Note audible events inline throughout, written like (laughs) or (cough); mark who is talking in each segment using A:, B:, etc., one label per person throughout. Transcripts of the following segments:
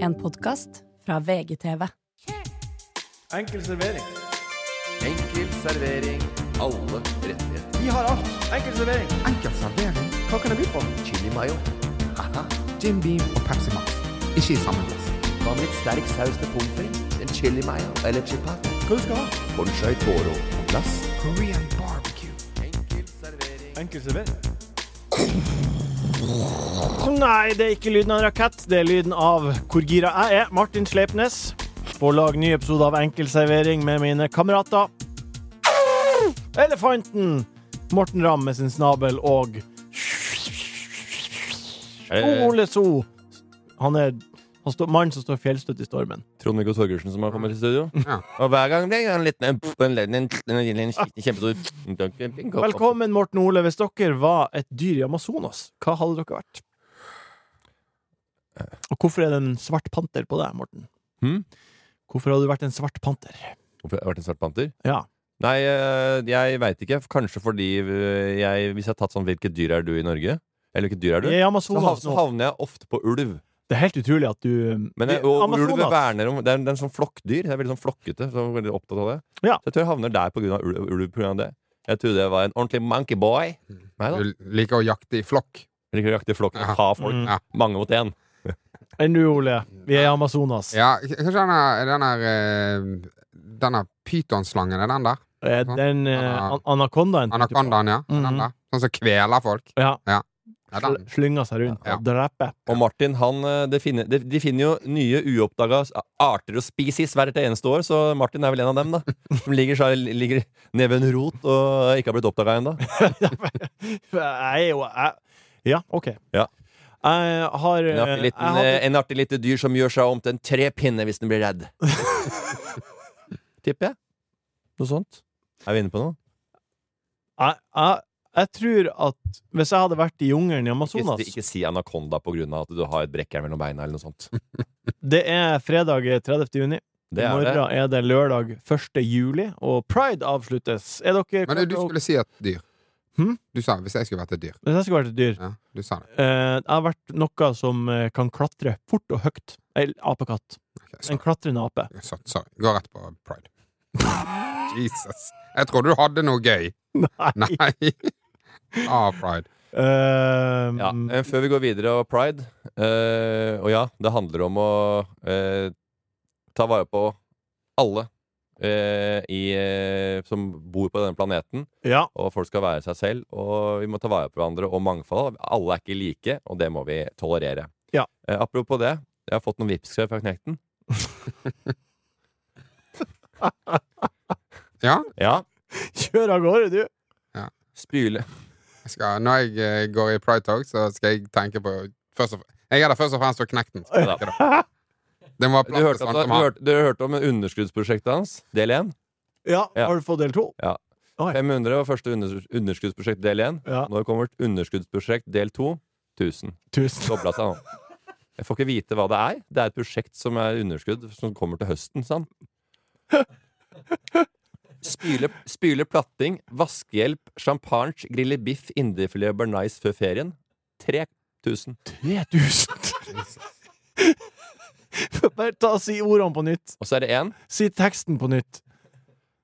A: En podkast fra VGTV.
B: Enkel servering.
C: Enkel servering. Alle rettigheter.
B: Vi har alt. Enkel servering.
D: Enkel servering,
B: Hva kan jeg by på?
C: Chili mayo. Haha.
D: Jim Beam og Pepsi Max. Ikke i samme glass.
C: Hva med litt sterk saus til pommes frites? En chili mayo eller chipat?
B: Hva du skal ha?
C: Bonchai toro på glass.
D: Korean barbecue.
C: Enkel servering.
B: Enkel servering. Nei, det er ikke lyden av en rakett. Det er lyden av hvor gira jeg er. Martin Sleipnes. På å lage ny episode av Enkel servering med mine kamerater. Elefanten! Morten Ramm med sin snabel og
E: Eh,
B: Ole So. Han er han står, mannen som står fjellstøtt i stormen.
E: Trond-Viggo Torgersen som har kommet i
B: (laughs)
E: studio. Og hver gang det er en liten en, en, en, en, en, en skitten kjempestor
B: Velkommen, Morten Ole. Hvis dere var et dyr i Amazonas, hva hadde dere vært?
E: Eh.
B: Og hvorfor er det en svart panter på deg, Morten?
E: Hm?
B: Hvorfor hadde du vært en svart panter?
E: Hvorfor har jeg vært en svart panter?
B: Ja.
E: Nei, eh, jeg veit ikke. Kanskje fordi eh, jeg Hvis jeg har tatt sånn 'Hvilket dyr er du i Norge?' Eller 'Hvilket dyr
B: I
E: er du?' Så hav-
B: Amazonas
E: så
B: nå.
E: havner jeg ofte på ulv.
B: Det er helt utrolig at du eh,
E: Men jeg, og ulv verner om Det er en, det er en sånn flokkdyr. Det er veldig sånn flokkete. Så jeg er veldig opptatt av det.
B: Ja.
E: Så jeg tror jeg havner der pga. ulv. ulv på grunn av det. Jeg trodde jeg var en ordentlig monkey boy. Nei da.
D: Du liker å jakte i flokk.
E: Jeg Liker å jakte i flokk.
D: Ja.
E: Ha folk.
B: Mm.
D: Ja.
E: Mange mot én.
B: Enn du, Ole. Vi er i Amazonas.
D: Ja, k- kanskje den er den er eh, Denne pytonslangen, er den der?
B: Eh, Den eh,
D: Ana-
B: an- anakondaen
D: Anakondaen, ja. Er
B: Mhm.
D: Den der. Sånn som kveler folk.
B: Ja.
D: Ja, den.
B: Slynger seg rundt
D: Ja.
B: og dreper.
E: Og Martin, han, eh, det finner, de, de finner jo nye uoppdaga arter og species hvert eneste år, så Martin er vel en av
B: (laughs)
E: dem, da. Som ligger, så- ligger nede ved en rot og ikke har blitt oppdaga ennå.
B: Jeg er jo jeg- Ja, OK.
E: Ja.
B: Jeg har
E: En, artig
B: eh, jeg
E: liten,
B: hadde-
E: eh, en artig lite dyr som gjør seg om til en trepinne hvis den blir redd.
B: (laughs)
E: Tipper jeg. Noe sånt. Er vi inne på noe?
B: Jeg, jeg, jeg tror at hvis jeg hadde vært i jungelen i
E: Ikke,
B: Amazonas
E: ikke si anakonda på grunn av at du har et brekkjern mellom beina, eller noe sånt.
B: Det er fredag 30. juni.
E: Det
B: I
E: er det.
B: morgen er det lørdag 1. juli, og pride avsluttes. Er dere
D: Men du, du skulle si et dyr.
B: Hm?
D: Du sa hvis jeg skulle vært et dyr.
B: Hvis jeg skulle vært et dyr
D: Ja, du sa det.
B: eh, Jeg har vært noe som eh, kan klatre fort og høyt. En apekatt.
D: Ok,
B: En
D: sorry.
B: klatrende ape.
D: Så- Sorry. Gå rett på pride. (laughs) Jesus. Jeg trodde du hadde noe gøy.
B: Nei.
D: Nei. (laughs) Ah, pride.
B: Eh,
E: Ja, eh, Før vi går videre og pride eh, Og ja, det handler om å eh, ta vare på alle eh, i, eh, som bor på denne planeten.
B: ja.
E: Og folk skal være seg selv, og vi må ta vare på hverandre og mangfold. Alle er ikke like, og det må vi tolerere.
B: Ja.
E: Eh, apropos det, jeg har fått noen vipskrev fra Knekten.
D: Ja,
E: Ja,
B: Kjør av gårde, du!
E: spyle.
D: jeg skal, når jeg eh, går i pride talk, så skal jeg tenke på først og, fre- Jeg er der først og fremst for knekten. Skal jeg tenke
E: (laughs)
D: det. Det må være
E: Du
D: plass
E: hørte,
D: til
E: at,
D: sånn
E: du,
D: som han.
E: hørte, du hørte om underskuddsprosjektet hans, del 1.
B: Ja,
E: Ja.
B: Har du fått del to?
E: Ja.
B: Oi.
E: 500 var første unders- underskuddsprosjekt del 1.
B: Ja.
E: Nå kommer et underskuddsprosjekt del 2. 1000.
B: Tusen.
E: Dobla seg nå. Jeg får ikke vite hva det er. Det er et prosjekt som er underskudd, som kommer til høsten. Sånn. Spyle, spyle platting, vaskehjelp, champagne, grille biff, indrefilet og bernais før ferien. 3000. (laughs)
B: 3000! Bare ta og si ordene på nytt.
E: Og så er det én.
B: Si teksten på nytt.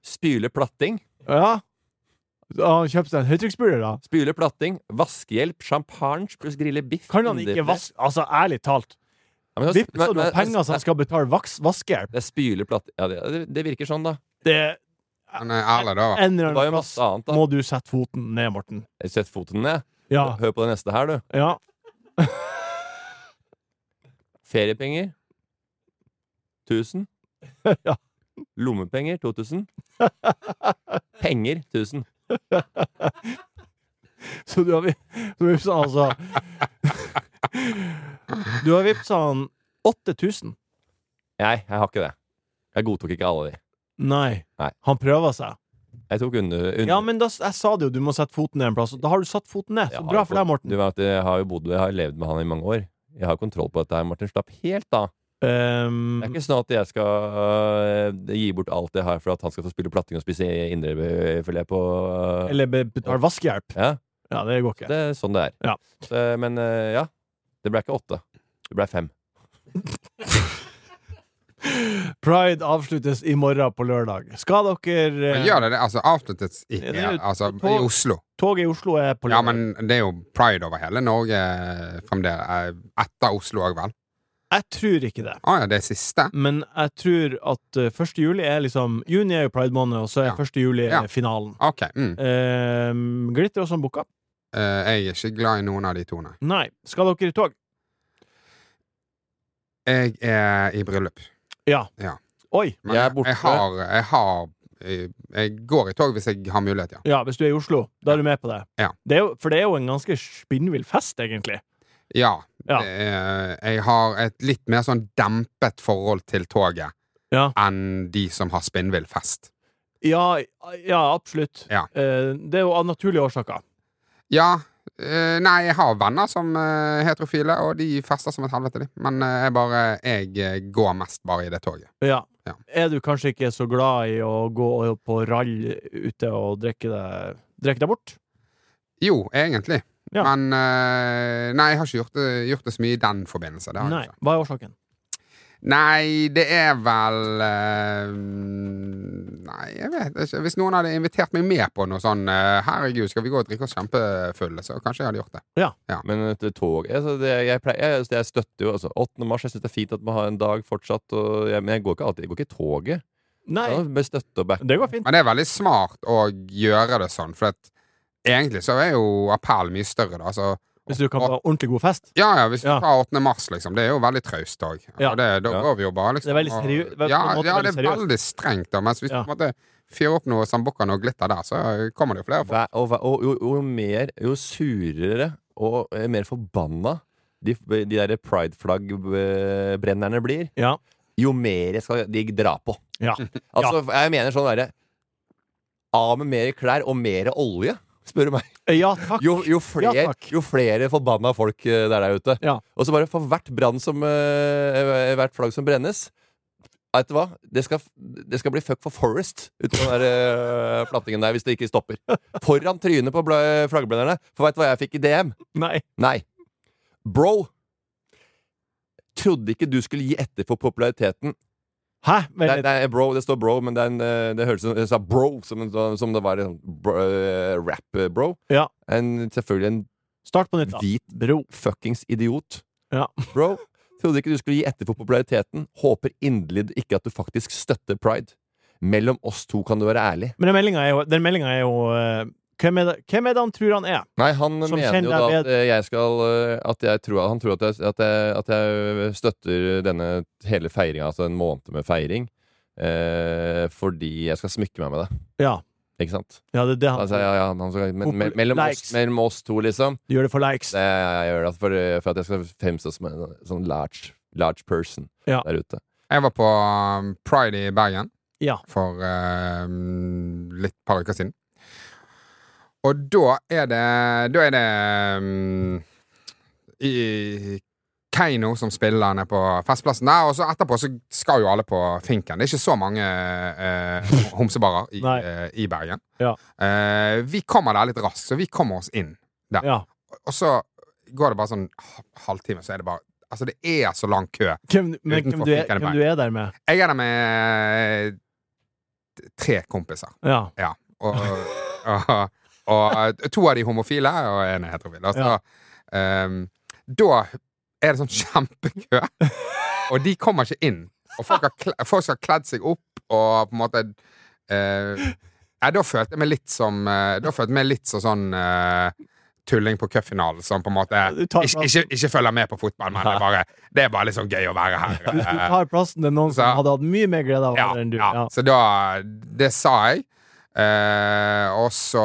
E: Spyle platting.
B: Ja. Da har han kjøpt seg en høytrykksspyler, da.
E: Spyle platting, vaskehjelp, champagne pluss grille biff.
B: Kan han ikke
E: indrefilet-
B: vaske Altså, ærlig talt.
E: Ja, men høst-
B: Vipser du
E: men- men-
B: penger som skal betale vaks, vaskehjelp?
E: Det er spyle platting ja, det, det virker sånn, da.
B: Det
D: Han er ærlig, da.
B: en eller
E: Det var jo
B: annen
E: masse
B: plass
E: annet, da.
B: må du sette foten ned, Morten.
E: Sett foten ned.
B: Ja.
E: Hør på det neste her, du.
B: ja.
E: Feriepenger 1000.
B: (laughs) Ja.
E: Lommepenger 2000.
B: (laughs)
E: Penger 1000.
B: Så du har, vi- du har vipsa han altså Du har vipsa han 8000.
E: Nei, jeg har ikke det. Jeg godtok ikke alle de.
B: Nei.
E: Nei.
B: Han prøver seg.
E: Jeg tok under, under
B: Ja, men da, jeg sa det jo, du må sette foten ned en plass. og Da har du satt foten ned.
E: Jeg
B: Så
E: har
B: bra
E: jo
B: for deg, Morten.
E: Du vet at jeg har jo bodd Jeg har levd med han i mange år. Jeg har kontroll på dette her, Martin. Slapp helt av.
B: Ehm,
E: Det er ikke sånn at jeg skal øh, gi bort alt jeg har for at han skal få spille platting og spise indrefilet på øh,
B: eller be- betale vaskehjelp.
E: Ja,
B: Ja, det går ikke.
E: det er eh, sånn det er.
B: Ja.
E: Så, men øh, ja. Det ble ikke åtte. Det ble fem.
B: Pride avsluttes i morgen på lørdag. Skal dere
D: Men
B: eh,
D: gjør det det? Altså, avsluttes
B: Ja,
D: i,
B: det er jo
D: altså,
B: på-
D: i Oslo.
B: Toget i Oslo er på
D: Ja,
B: lørdag.
D: men det er jo pride over hele Norge eh, fremdeles. eh, Etter Oslo òg, vel?
B: Jeg tror ikke det.
D: Å ja, det er siste?
B: Men jeg tror at eh, 1. juli er liksom Juni er jo pride-måned, og så er
D: Ja.
B: 1. juli
D: Ja.
B: finalen.
D: Ok. Mm.
B: Eh, glitter også en boka?
D: Eh, jeg er ikke glad i noen av de to, nei.
B: Nei. Skal dere i tog?
D: Jeg er i bryllup.
B: Ja.
D: Ja.
B: Oi!
D: Men
E: Jeg er borte.
D: Jeg har, jeg har jeg, jeg går i tog hvis jeg har mulighet, ja.
B: Ja, hvis du er i Oslo, da er du med på det.
D: Ja.
B: det er jo, for det er jo en ganske spinnvill fest, egentlig.
D: Ja.
B: Ja.
D: det er- jeg har et litt mer sånn dempet forhold til toget
B: Ja.
D: enn de som har spinnvill fest.
B: Ja, ja absolutt.
D: Ja.
B: Eh, det er jo av naturlige årsaker.
D: Ja. eh, nei, jeg har venner som eh, heterofile, og de fester som et helvete, de. Men eh, jeg bare Jeg eh, går mest bare i det toget.
B: Ja.
D: Ja.
B: Er du kanskje ikke så glad i å gå og- på rall ute og drikke deg, drikke deg bort?
D: Jo, egentlig.
B: Ja.
D: Men eh, Nei, jeg har ikke gjort det, gjort det så mye i den forbindelse. Det har jeg
B: Nei.
D: ikke.
B: Hva er årsaken?
D: Nei, det er vel eh, Nei, jeg vet ikke. Hvis noen hadde invitert meg med på noe sånn eh, Herregud, skal vi gå og drikke oss kjempefulle? Så kanskje jeg hadde gjort det.
E: Men et tog altså det, jeg, pleier, jeg, altså, jeg støtter jo altså, 8. mars. Jeg syns det er fint at man har en dag fortsatt. Og jeg, men jeg går ikke alltid Jeg går ikke i toget.
B: Nei,
E: Ja, Med støtte og back.
B: det går fint.
D: Men det er veldig smart å gjøre det sånn, for at egentlig så er jo appellen mye større, da. Så
B: Hvis du kan ha ordentlig god fest.
D: ja, ja, hvis du
B: Ja.
D: tar 8. mars, liksom. Det er jo veldig traust òg.
B: Ja.
D: Da
E: Ja.
D: går vi jo bare, liksom.
B: Det er veldig
D: og-
B: seriø- på en
D: Ja,
B: måte
D: ja,
B: veldig
D: det er
B: seriøst.
D: veldig strengt, da. Mens hvis
B: Ja.
D: du på en måte fyrer opp noe sambukkene og glitter der, så kommer det jo flere folk.
E: Hver, og, hver- og, jo, jo mer Jo surere og eh, mer forbanna de, de der pride-flagg-brennerne blir,
B: Ja.
E: jo mer jeg skal de dra på.
B: Ja.
E: Altså, jeg mener sånn derre Av med mer klær og mer olje, spør du meg.
B: Ja, takk.
E: (laughs) Jo, jo, flere,
B: Ja, takk.
E: jo flere forbanna folk eh, der der ute.
B: Ja.
E: Og så bare for hvert brann som eh, Hvert flagg som brennes Vet du hva? Det skal, det skal bli fuck for Forest ute på den der eh, plattingen der hvis det ikke stopper. Foran trynet på bla- flaggeblenderne. For veit du hva jeg fikk i DM?
B: Nei.
E: Nei. Bro! Trodde ikke du skulle gi etter for populariteten.
B: Hæ? Vent
E: Det,
B: litt.
E: det, er bro, det står bro, men det, er en, eh, det høres ut som jeg sa bro, som, en- som det var en sånn bro, eh, rap-bro.
B: Ja.
E: En, selvfølgelig en
B: Start på nytt, da.
E: hvit
B: Bro.
E: fuckings idiot.
B: Ja.
E: (laughs) Bro, trodde ikke du skulle gi etter for populariteten. Håper inderlig ikke at du faktisk støtter pride. Mellom oss to kan du være ærlig.
B: Men den meldinga er jo, den meldingen er jo eh, hvem, er det, hvem er det han tror han er?
E: Nei, han
B: Som
E: mener
B: kjenner
E: jo da
B: deg
E: at eh, jeg skal eh, At jeg tror Han tror at jeg, at jeg, at jeg støtter denne hele feiringa, altså en måned med feiring, eh, fordi jeg skal smykke meg med det.
B: Ja.
E: Ikke sant?
B: ja det er det han
E: Altså, ja, ja, han skal, men, me-
B: Popul-
E: mellom, oss,
B: likes.
E: mellom oss to, liksom.
B: Gjør det for likes.
E: Det jeg, jeg gjør det altså, for, for at jeg skal fremstå som en sånn large, large person
B: Ja.
E: der ute.
D: Jeg var på um, Pride i Bergen
B: Ja.
D: for um, litt par uker siden. Og da er det Da er det um, i Keiino som spiller nede på Festplassen der, og så etterpå så skal jo alle på Finken. Det er ikke så mange eh, (laughs) homsebarer i,
B: Nei.
D: eh, i Bergen.
B: Ja.
D: Eh, vi kommer der litt raskt, så vi kommer oss inn.
B: Ja.
D: Og så går det bare sånn halvtime, så er det bare Altså, det er så lang kø.
B: Hvem, men hvem
D: Utenfor
B: du, er,
D: fikk jeg det
B: hvem
D: meg.
B: du er der med?
D: Jeg er der med eh, tre kompiser.
B: Ja.
D: Og, og, og, og to av de homofile, og en er heterofil. Og så, ehm, da er det sånn kjempekø, og de kommer ikke inn. Og folk har, kle, folk har kledd seg opp og på en måte eh, ja, Da følte jeg meg litt som eh, Da følte jeg meg litt som sånn eh, tulling på cupfinalen som på en måte
B: Du tar
D: ikke, ikke, ikke følger med på fotball, men det er bare, det er bare litt sånn gøy å være her.
B: Du du tar plassen til noen som
D: Så-
B: hadde hatt mye mer glede av å
D: Ja,
B: være der enn du.
D: ja.
B: Ja.
D: Så da Det sa jeg. Eh, og så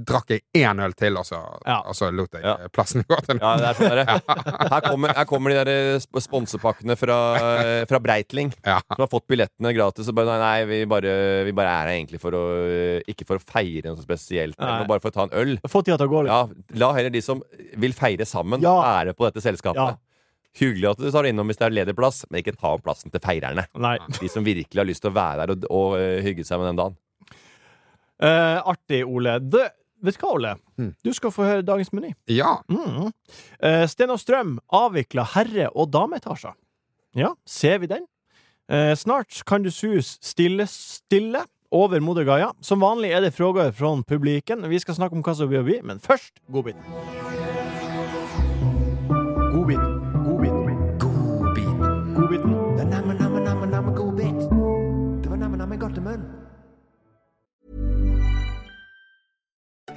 D: drakk jeg én øl til, og så,
B: Ja.
D: og så lot jeg
E: Ja.
D: plassen gå til
E: Ja, det er sånn der. (laughs) Her, kommer, her kommer de der eh, sp- sponsepakkene fra, eh, fra Breitling,
D: Ja.
E: som har fått billettene gratis. Og bare, nei, nei, vi bare, vi bare er her egentlig for å eh, Ikke for å feire noe så spesielt,
B: Nei.
E: men bare for å ta en øl.
B: Få tida til å gå litt.
E: Ja, La heller de som vil feire sammen,
B: Ja.
E: være på dette selskapet.
B: Ja.
E: Hyggelig at du tar innom hvis det er ledig plass, men ikke ta plassen til feirerne.
B: Nei.
E: De som virkelig har lyst til å være der og, og eh, hygge seg med den dagen.
B: Eh, artig, Ole. Du, vet du hva, Ole?
D: Mm.
B: Du skal få høre dagens meny.
D: Ja.
B: Mm. Eh, Sten og Strøm avvikla herre- og dameetasjer. Ja, ser vi den? Eh, snart kan du sus stille, stille over Moder Gaia. Som vanlig er det spørsmål fra publikum. Vi skal snakke om hva som blir å bli, men først godbiten. Godbiten. Godbiten. Godbiten.
C: Det er namme, namme, namme, namme god bit. Det var namme, namme godtemunn.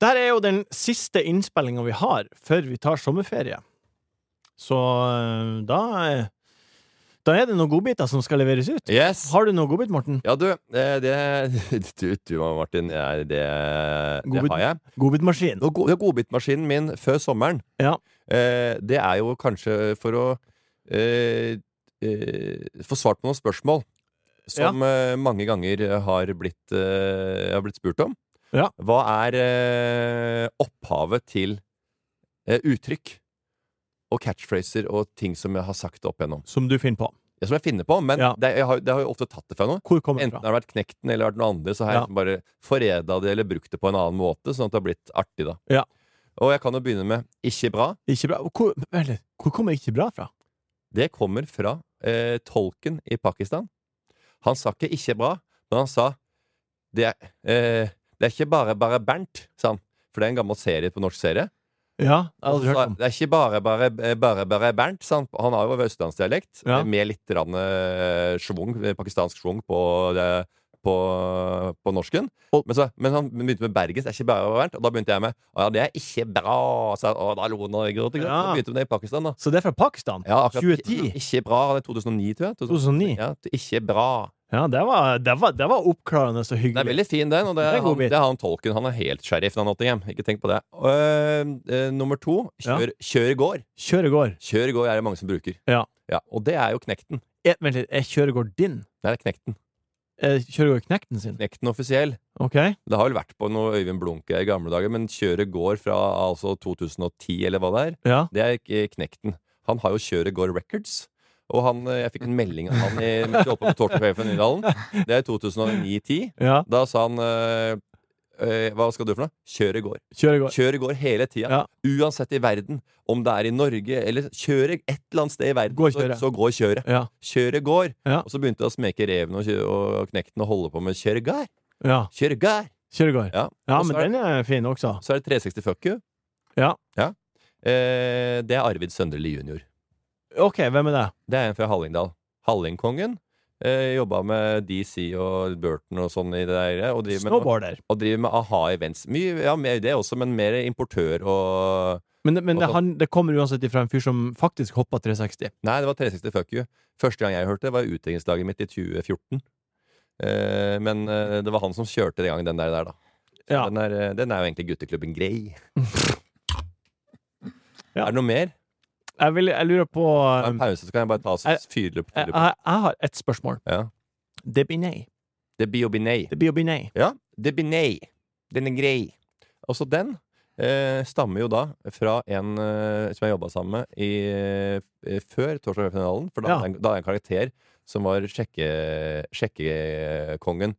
B: Der er jo den siste innspillinga vi har før vi tar sommerferie. Så eh, da eh, Da er det noen godbiter som skal leveres ut.
E: Yes!
B: Har du noen godbit, Morten?
E: Ja, du, eh, det (laughs) Du, du Martin, jeg- det, det
B: Godbit.
E: har jeg.
B: Godbitmaskin.
E: Nå, go- ja, Godbitmaskinen min før sommeren,
B: Ja.
E: eh, det er jo kanskje for å eh, eh, få svart på noen spørsmål som eh, mange ganger har blitt, eh, jeg har blitt spurt om.
B: Ja.
E: Hva er eh, opphavet til eh, uttrykk og catchphraser og ting som jeg har sagt opp igjennom?
B: Som du finner på.
E: Ja, som jeg finner på, men
B: Ja.
E: det, jeg har, det har jo ofte tatt det fra noe.
B: Hvor kommer den
E: Enten
B: fra?
E: har det vært Knekten eller vært noen andre, så har jeg
B: Ja.
E: liksom bare foreda det eller brukt det på en annen måte, sånn at det har blitt artig, da.
B: Ja.
E: Og jeg kan jo begynne med 'ikke bra'.
B: Ikke bra. Hvor, vent litt. Hvor kommer ikke bra fra?
E: Det kommer fra eh, tolken i Pakistan. Han sa ikke 'ikke bra', men han sa det er, eh, 'Det er ikke bare bare Bernt', sa han. For det er en gammel serie på norsk serie.
B: Ja, jeg har
E: Og
B: aldri
E: så sa
B: hørt
E: han,
B: om.
E: Altså, det er ikke bare bare bare, bare Bernt, sa han. Han har jo østlandsdialekt,
B: Ja.
E: med litt rann, eh, schwung, eh, pakistansk schwung på, det- på, på norsken. men, så, men han begynte med bergens, det er ikke bare bare Bernt, og da begynte jeg med «Å ja, det er ikke bra, sa han. Å, da lo Norge, og
B: Ja.
E: så begynte vi med det i Pakistan, da.
B: Så det er fra Pakistan?
E: Ja, akkurat.
B: 2010.
E: Ikke, ikke bra. Det er 2009, tror jeg.
B: 2009.
E: Ja, ikke bra.
B: Ja, det var, det var, det var oppklarende og
E: Det er
B: hyggelig.
E: veldig fin, den. Og det
B: Det er
E: er
B: en god
E: han,
B: bit.
E: det er han tolken. Han er helt sheriffen av Nottingham. Ikke tenk på det. Øh, eh, nummer to. Kjør, kjør gård.
B: Kjør i går.
E: Kjør gård er det mange som bruker.
B: Ja.
E: Ja, og det er jo knekten.
B: Eh, Vent litt. Er kjør i går din?
E: Det er knekten.
B: Er kjør i går knekten sin?
E: Knekten offisiell.
B: OK?
E: Det har vel vært på noe Øyvind Blunke i gamle dager, men kjøret gård fra altså 2010, eller hva det er,
B: Ja.
E: det er ikke knekten. Han har jo kjøret gård records. Og han, eh, jeg fikk en melding av han i, mens jeg holdt på med Torten på Høyre for Nydalen. Det er 2009-10.
B: ja.
E: Da sa han eh, eh, Hva skal du for noe? Kjør i går.
B: Kjør i går.
E: Kjør i går hele tida.
B: Ja.
E: Uansett i verden. Om det er i Norge eller kjør et eller annet sted i verden,
B: Gå og
E: så,
B: kjøre.
E: så går kjøret.
B: Ja.
E: Kjøret går.
B: Ja.
E: Og så begynte jeg å smeke reven og, kjø- og knekten og holde på med kjør i går.
B: ja.
E: Kjør i går.
B: Kjør i går.
E: Ja.
B: Ja,
E: Og så
B: men
E: er-
B: den er fin også.
E: Så er det 360 fuck you.
B: Ja.
E: Eh, det er Arvid Sønderli jr.
B: OK, hvem er det?
E: Det er en fra Hallingdal. Hallingkongen. Eh, jobba med DC og Burton og sånn i det der. Og driver med,
B: Snowboarder.
E: og driver med aha events. Mye, ja, mer det også, men mer importør og
B: Men, det- men det,
E: Og så-
B: han, det kommer uansett ifra en fyr som faktisk hoppa 360.
E: Nei, det var 360 fuck you. Første gang jeg hørte det, var i utdrikningslaget mitt i 2014. Eh, men eh, det var han som kjørte den gangen, den der, der da. Så
B: Ja.
E: Den, er, eh, den er jo egentlig gutteklubben grei.
B: Ja.
E: Er det noe mer?
B: Jeg, vil, jeg lurer på
E: Ta en
B: um,
E: pause, så kan jeg bare ta
B: jeg-
E: og fyre opp.
B: jeg,
E: fyre opp.
B: jeg, jeg har et spørsmål.
E: Ja.
B: Det blir nei.
E: Det blir å bli nei.
B: Det blir å bli nei.
E: Ja, det blir nei. Den er grei. Også den eh, stammer jo da fra en eh, som jeg jobba sammen med i, eh, før torsdag finalen For da
B: Ja.
E: hadde jeg- da hadde jeg en karakter som var sjekke- sjekkekongen.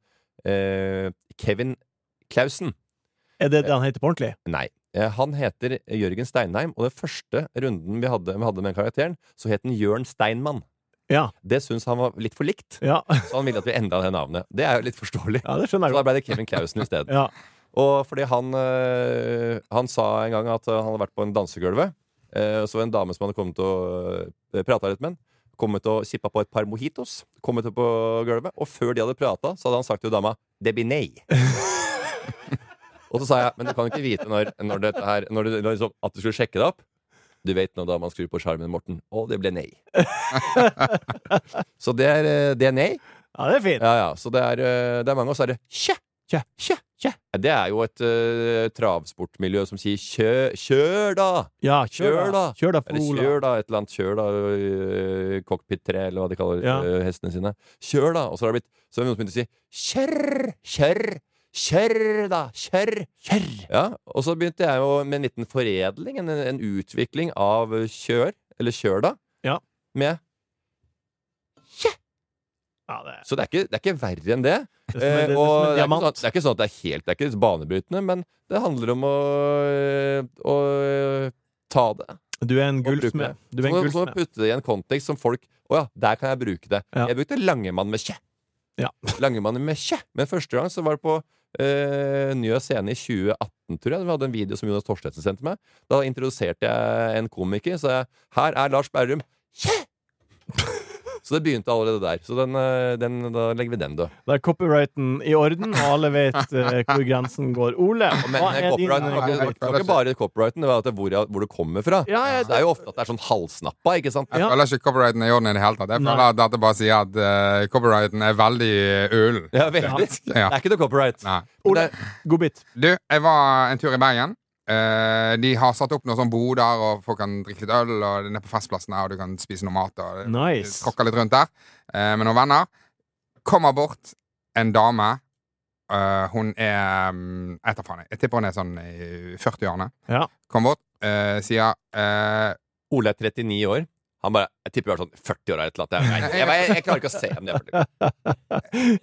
E: eh, Kevin Klausen.
B: Er det det han heter på ordentlig?
E: Nei. Eh, han heter Jørgen Steinheim, og den første runden vi hadde, vi hadde med den karakteren, så het den Jørn Steinmann.
B: Ja.
E: Det syntes han var litt for likt,
B: Ja,
E: så han ville at vi endra det navnet. Det er jo litt forståelig.
B: ja det
E: Så
B: skjønner
E: da
B: jeg godt.
E: ble det Kevin Klausen isteden.
B: Ja.
E: Og fordi han øh, Han sa en gang at øh, han hadde vært på en dansegulvet. øh, og så var det en dame som hadde kommet og øh, prata litt med han. Kommet og kippa på et par mojitos. Kommet opp på gulvet Og før de hadde prata, så hadde han sagt til dama 'Det blir nei'. og så sa jeg 'Men du kan jo ikke vite når, når dette her når du, når liksom, At du skulle sjekke det opp'. Du vet når dama skrur på skjermen, Morten. Å, det ble nei. så det er, øh, det er nei.
B: ja, det er fint.
E: Ja, ja. Så det er, øh, det er mange, og så er det kjø, kjø, kjø,
B: Tje.
E: Det er jo et eh, travsportmiljø som sier kjø, 'kjør, da'!
B: Ja,
E: Kjør da.
B: Kjør da,
E: Eller
B: Ola.
E: kjør, da. Et eller annet kjør, da. øh, Cockpit 3, eller hva de kaller
B: Ja.
E: øh, hestene sine. Kjør, da. Og så har det blitt Så har noen som begynte å si kjørr, kjørr, kjørr, da. Kjørr. Ja. Og så begynte jeg jo med en liten foredling, en, en utvikling av øh, kjør, eller kjør, da,
B: Ja.
E: med
B: Ja, det er,
E: Så det er ikke, det er ikke verre enn det.
B: det er,
E: Eh,
B: som en- det er, som en
E: og det er, ikke
B: diamant.
E: sånn, at- det er ikke sånn at det er helt Det er ikke banebrytende, men det handler om å, øh, å øh, ta det.
B: Du er en gullsmed.
E: bruker det.
B: Du er
E: Så
B: en
E: må- så må man
B: gullsmed.
E: putte det i en kontekst som folk Å ja, der kan jeg bruke det.
B: Ja.
E: Jeg brukte Langemann med kje.
B: Ja.
E: (laughs) Langemann med kje. Men første gang så var det på eh, Njø scene i 2018, tror jeg. Vi hadde en video som Jonas Torstvedsen sendte meg. Da introduserte jeg en komiker. Så jeg Her er Lars Berrum. Kje! Så det begynte allerede der. Så den, eh, den, da legger vi den død.
B: Da er copyrighten i orden, og alle vet eh, hvor grensen går. Ole,
E: Men
B: hva er din
E: copyright, det var
B: eh,
E: ikke- det var ikke bare copyrighten, det var at det, hvor, jeg- hvor det kommer fra.
B: Ja, jeg-
E: Så det er jo ofte at det er sånn halvsnappa, ikke sant?
D: Jeg
B: Ja.
D: føler ikke copyrighten er i orden i det hele tatt. Jeg føler
B: Nei.
D: at dette bare sier at eh, copyrighten er veldig ølen.
E: Ja, veldig.
D: Ja.
E: Det er ikke noe copyright.
D: Nei.
E: Men
B: Ole,
E: det-
B: godbit.
D: Du, jeg var en tur i Bergen. Eh, de har satt opp noen sånne boder, og folk kan drikke litt øl, og det er nede på festplassen her, og du kan spise noe mat. Og
B: Nice.
D: Tråkka litt rundt der eh, med noen venner. Kommer bort en dame. Eh, hun er mm, Jeg tar faen, jeg. Jeg tipper hun er sånn i 40-årene.
B: Ja.
D: Kommer bort, eh, sier eh,
E: Ole er 39 år. Han bare, Jeg tipper jeg var sånn 40 år eller et eller annet. Jeg, vet- jeg, jeg, jeg klarer ikke å se om det er 40.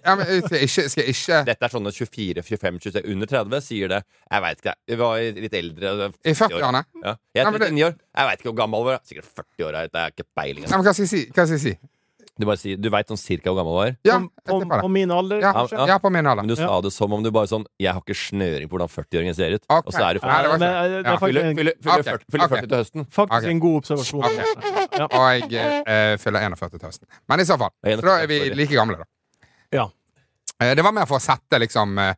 D: ja, men, skal jeg ikke, skal jeg ikke
E: Dette er sånne 24, 25, 26, under 30 sier det. Jeg veit ikke. Jeg var litt eldre. 40
D: I
E: år.
D: 40-årene?
E: Ja. Jeg
D: Nei,
E: er
D: men det-
E: 39 år. Jeg veit ikke hvor gammel du er. Sikkert 40 år. Jeg vet- jeg har ikke peiling.
D: Nei, men Hva skal jeg si? Hva skal jeg si?
E: Du bare sier, du veit sånn cirka hvor gammel du er.
D: Ja,
B: Om-
D: jeg
B: om-
D: tipper
B: På
D: det.
B: min alder,
D: Ja,
B: kanskje?
D: ja på min alder.
E: Men du sa det som om du bare sånn Jeg har ikke snøring på hvordan 40-åringen ser ut.
D: Ok.
E: Og så er du
D: Nei, det
B: Men,
D: var
E: faktisk
B: eh,
D: ikke-
B: det
D: Ja,
B: er faktisk
E: Fyller
B: en,
E: fyller- fyller
D: Ok,
E: 40, fyller
D: ok.
E: 40 til høsten.
B: faktisk
D: Ok.
B: en god observasjon.
D: Ok.
B: Ja.
D: Og jeg eh, fyller 41 til høsten. Men i så fall,
E: Jeg er
D: så da er vi
E: 41, sorry.
D: like gamle, da.
B: Ja.
D: Eh, det var mer for å sette liksom eh,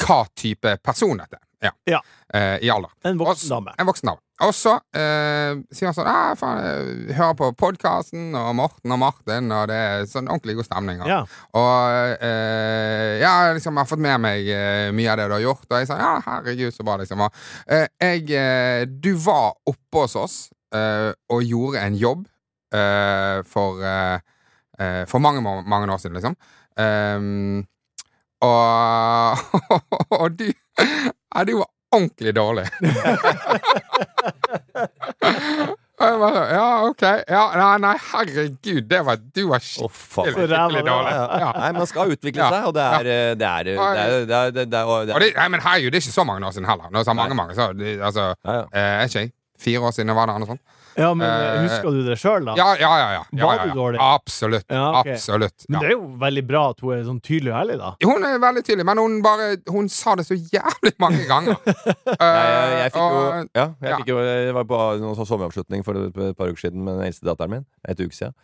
D: hva type person dette er. Ja.
B: Ja.
D: Eh, I alder.
B: En
D: Og s-
B: voksen dame.
D: En voksen dame. Og så eh, sier han sånn ah, faen, eh, Hører på podkasten og Morten og Martin, og det er sånn ordentlig god stemning. Og,
B: Ja.
D: og eh, ja, liksom, jeg har fått med meg eh, mye av det du har gjort, og jeg sa ja, herregud, så bra, liksom. Og, eh, jeg, eh, du var oppe hos oss eh, og gjorde en jobb eh, for eh, eh, For mange, mange mange år siden, liksom. Ehm, og, (laughs) og du Ja, du var ordentlig dårlig. (laughs) Og jeg bare, sånn, ja, ok. Ja, nei, nei, herregud, det var, du var
E: Å,
D: skikkelig,
E: faen.
B: Så ræva
D: skikkelig
B: det var.
D: dårlig. Ja.
E: Nei, man skal utvikle
D: Ja.
E: seg, og det er eh, Det er, eh, det er, det er, det er, det er, det
D: Og
E: er
D: det, nei, men herregud, det er ikke så mange år siden heller. Nå sa mange, mange, så, det, altså,
E: Ja, ja.
D: eh, er ikke jeg fire år siden jeg var der? Noe sånt.
B: Ja, men eh,
D: Eh,
B: husker du det sjøl, da?
D: Ja, ja, ja. ja, ja,
B: Var
D: ja,
B: du
D: ja.
B: dårlig?
D: Absolutt.
B: Ja, ok.
D: Absolutt.
B: Men
D: Ja.
B: det er jo veldig bra at hun er sånn tydelig og ærlig, da.
D: Hun er veldig tydelig, men hun bare Hun sa det så jævlig
B: (laughs)
D: mange ganger. Eh,
E: Jeg, jeg, jeg fikk jo,
D: og-
E: ja, jeg
D: ja.
E: fikk jo Jeg var på noen sånn sommeravslutning for et par uker siden med den eldste datteren min. Et uke siden.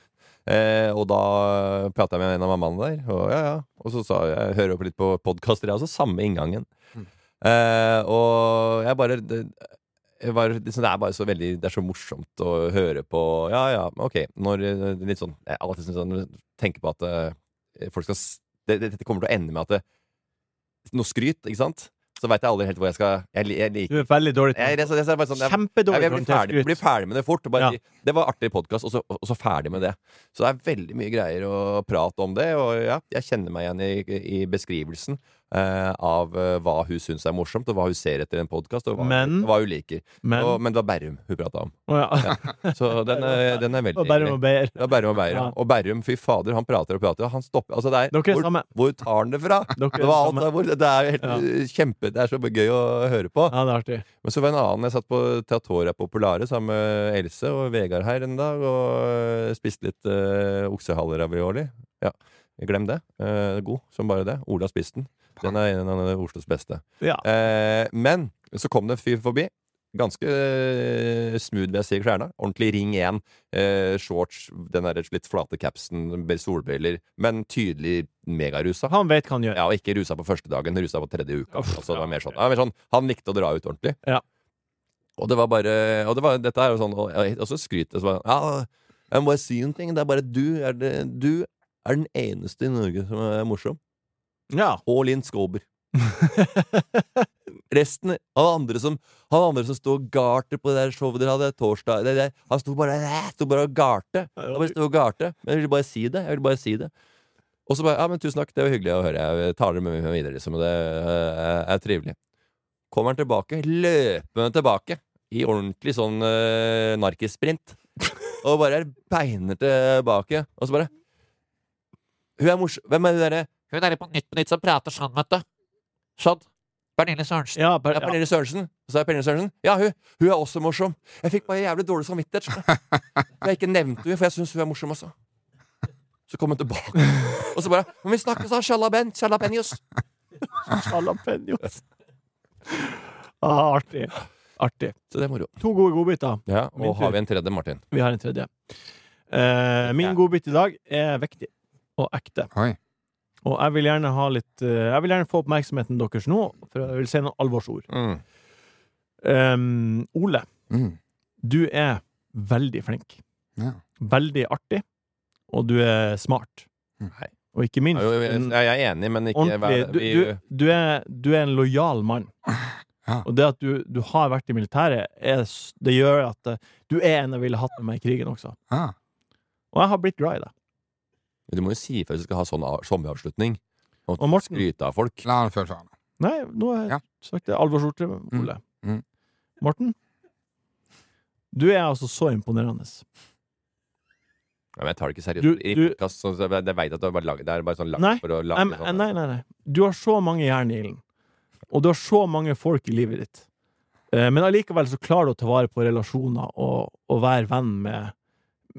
E: Eh, og da prata jeg med en av mammaene der, og, ja, ja. og så sa jeg Jeg hører jo på litt på podkaster, jeg også. Samme inngangen.
D: Mm.
E: Eh, og jeg bare det, jeg var, liksom, det er bare så veldig Det er så morsomt å høre på. Ja, ja, ok. Når eh, litt sånn Jeg alltid synes sånn, når jeg tenker på at eh, folk skal s- det- det- Dette kommer til å ende med at det, noe skryt, ikke sant? Så veit jeg aldri helt hvor jeg skal Jeg, li- jeg liker
B: Du er veldig dårlig til
E: jeg, det, det, det er bare sånn, jeg, jeg,
B: Kjempedårlig
E: jeg blir,
B: til
E: ferdig,
B: å
E: blir
B: skryte.
E: ferdig med det fort. og Bare,
B: Ja.
E: si, Det var artig podkast, og, så- og så ferdig med det. Så det er veldig mye greier å prate om det. Og ja, jeg kjenner meg igjen i, i beskrivelsen eh, av eh, hva hun syns er morsomt, og hva hun ser etter en podkast, og hva,
B: Men-
E: hva hun liker.
B: Men
E: og, men det var Berrum hun prata om.
B: Å ja.
E: Så den, er- den er veldig
B: (laughs) Og Bærum og Beyer.
E: Ja, Berrum og Beier.
B: Ja.
E: Og Berrum, fy fader, han prater og prater. og Han stopper altså, det er,
B: Dere er
E: hvor,
B: samme.
E: hvor tar han det fra?
B: Dere er
E: det, var alt,
B: samme.
E: der hvor, det er jo helt eh, kjempe Det er så gøy å høre på.
B: Ja, det er artig.
E: Men så var det en annen jeg satt på Teatoria Populare sammen med Else og Vegard her en dag og øh, spiste litt uh, oksehaleravioli. Ja, glem det. Eh, god som bare det. Ola spiste den. Den er en av Oslos beste.
B: Ja.
E: Eh, men så kom det en fyr forbi. Ganske eh, smooth, vil jeg si, i klærne. Ordentlig Ring 1. eh, shorts, den der litt flate capsen, solbriller, men tydelig megarusa.
B: Han vet hva han gjør.
E: Ja, og ikke rusa på første dagen, rusa på tredje uka.
B: Uff,
E: altså, det var
B: ja.
E: mer sånn, ja, mer sånn, han likte å dra ut ordentlig.
B: Ja.
E: Og det var bare Og det var, dette er jo sånn Og, og så skryter jeg så bare Ja, jeg må bare si en ting. Det er bare du er, det, du er den eneste i Norge som er morsom.
B: Ja.
E: Og Linn Skåber. (laughs) Resten Han andre som Han andre som sto og garte på det der showet dere hadde torsdag det, det, Han sto bare, eh, sto bare og garte.
B: Ja,
E: Han bare sto og garte. Men jeg ville bare si det. Jeg ville bare si det. Og så bare Ja, men tusen takk, det var hyggelig å høre. Jeg tar dere med meg videre, liksom. Og det eh, er trivelig. Kommer han tilbake, løpende tilbake, i ordentlig sånn uh, narkissprint, og bare er beiner tilbake, og så bare Hun er morsom. Hvem er hun derre Hun derre på Nytt på Nytt som prater sånn, vet du. Sånn. Pernille Sørensen.
B: Ja, per, (laughs)
E: Ja,
B: ja.
E: Pernille Sørensen. Og så er Pernille Sørensen. Ja, hun, hun er også morsom. Jeg fikk bare jævlig dårlig samvittighet. skjønner du. (laughs) For jeg ikke nevnte henne, for jeg syns hun er morsom også. Så kom hun tilbake, og så bare Men vi sånn, snakkes da, sjalaben, sjalabenjos.
B: Jalapeños. (laughs) Ah, artig. Artig.
E: Så det er moro.
B: To gode godbiter.
E: Ja,
B: Min
E: og
B: tur.
E: har vi en tredje, Martin?
B: Vi har en tredje. Eh, min godbit i dag er viktig og ekte.
D: Oi.
B: Og jeg vil gjerne ha litt eh, Jeg vil gjerne få oppmerksomheten deres nå, for jeg vil si noen alvorsord.
E: Mm.
B: Em, Ole,
D: Mm.
B: du er veldig flink.
D: Ja.
B: Veldig artig. Og du er smart.
D: Nei.
B: Og ikke minst
E: Jo, jeg,
B: en
E: jeg er enig, men ikke
B: Mm. ordentlig
E: vær-
B: du,
E: vi-
B: du, du, er, du er en lojal mann.
D: (laughs) Ja.
B: Og det at du, du har vært i militæret, er, s- det gjør at eh, du er en jeg ville hatt med meg i krigen også.
D: Ah.
B: Og jeg har blitt glad i deg.
E: Du må jo si ifra hvis du skal ha sånn av- sommeravslutning. Og
B: Og Morten
E: skryte av folk.
D: La han føle for han.
B: Nei, nå har jeg
D: Ja.
B: sagt det. Alvorsord til Ole.
D: Mm.
B: Morten? Du er altså så imponerende.
E: Ja, men jeg tar det ikke seriøst.
B: Du-
E: I
B: du-
E: podcast, så- så jeg vet at det er bare, lag, det er bare sånn lagt
B: Nei,
E: for å lage
B: Em,
E: sånn-
B: nei, nei, nei. Du har så mange jern i ilden. Og du har så mange folk i livet ditt. Eh, Men allikevel så klarer du å ta vare på relasjoner og, og være venn med,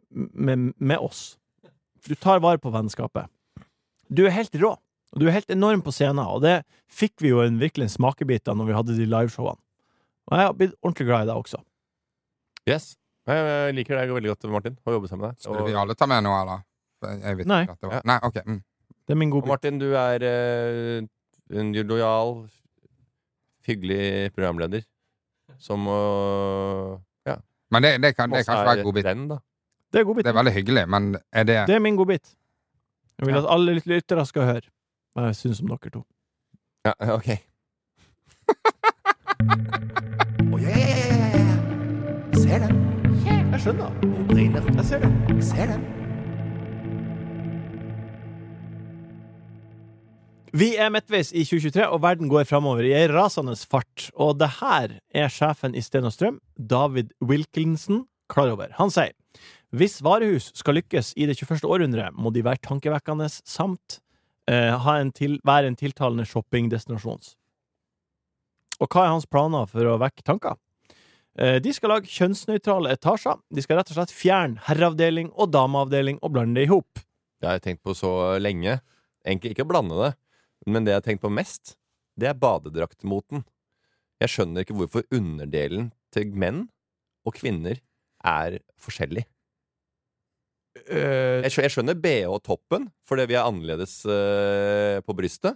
B: med, med oss. Du tar vare på vennskapet. Du er helt rå, og du er helt enorm på scenen, og det fikk vi jo en, virkelig en smakebit av når vi hadde de liveshowene. Og jeg har blitt ordentlig glad i deg også.
E: Yes. Nei, Jeg liker deg veldig godt, Martin, å jobbe sammen med deg.
D: Skulle vi
E: Og,
D: alle ta med noe, eller? Jeg vet
B: Nei.
D: ikke at det var.
E: Ja.
D: Nei, ok. Mm.
B: Det er min
E: og
B: godbit.
E: Martin, du er eh, en lojal, hyggelig programleder som å Ja.
D: Men det, det, kan, det
E: også
D: kan ikke være en godbit.
E: venn, da.
B: Det er godbiten.
D: Det er veldig hyggelig, men er det
B: Det er min godbit. Jeg vil at alle lyt- lyttere skal høre hva jeg syns om dere to.
D: (laughs)
E: Ja, ok.
C: Å, ja, ja, ja, ja, ja, ja. Ser den.
B: Jeg skjønner.
C: Hun brenner.
B: Jeg ser det.
C: Ser den.
B: Vi er midtveis i 2023, og verden går framover i ei rasende fart. Og det her er sjefen i Sten og Strøm, David Wilkinson, klar over. Han sier hvis varehus skal lykkes i det 21. århundret, må de være tankevekkende samt eh, ha en til, være en tiltalende shoppingdestinasjons. Og hva er hans planer for å vekke tanker? Eh, De skal lage kjønnsnøytrale etasjer. De skal rett og slett fjerne herreavdeling og dameavdeling og blande det i hop.
E: Det har jeg tenkt på så lenge. Egentlig ikke å blande det, men det jeg har tenkt på mest, det er badedraktmoten. Jeg skjønner ikke hvorfor underdelen til menn og kvinner er forskjellig.
B: Eh,
E: Jeg skjø- jeg skjønner BH-toppen, fordi vi er annerledes eh, på brystet.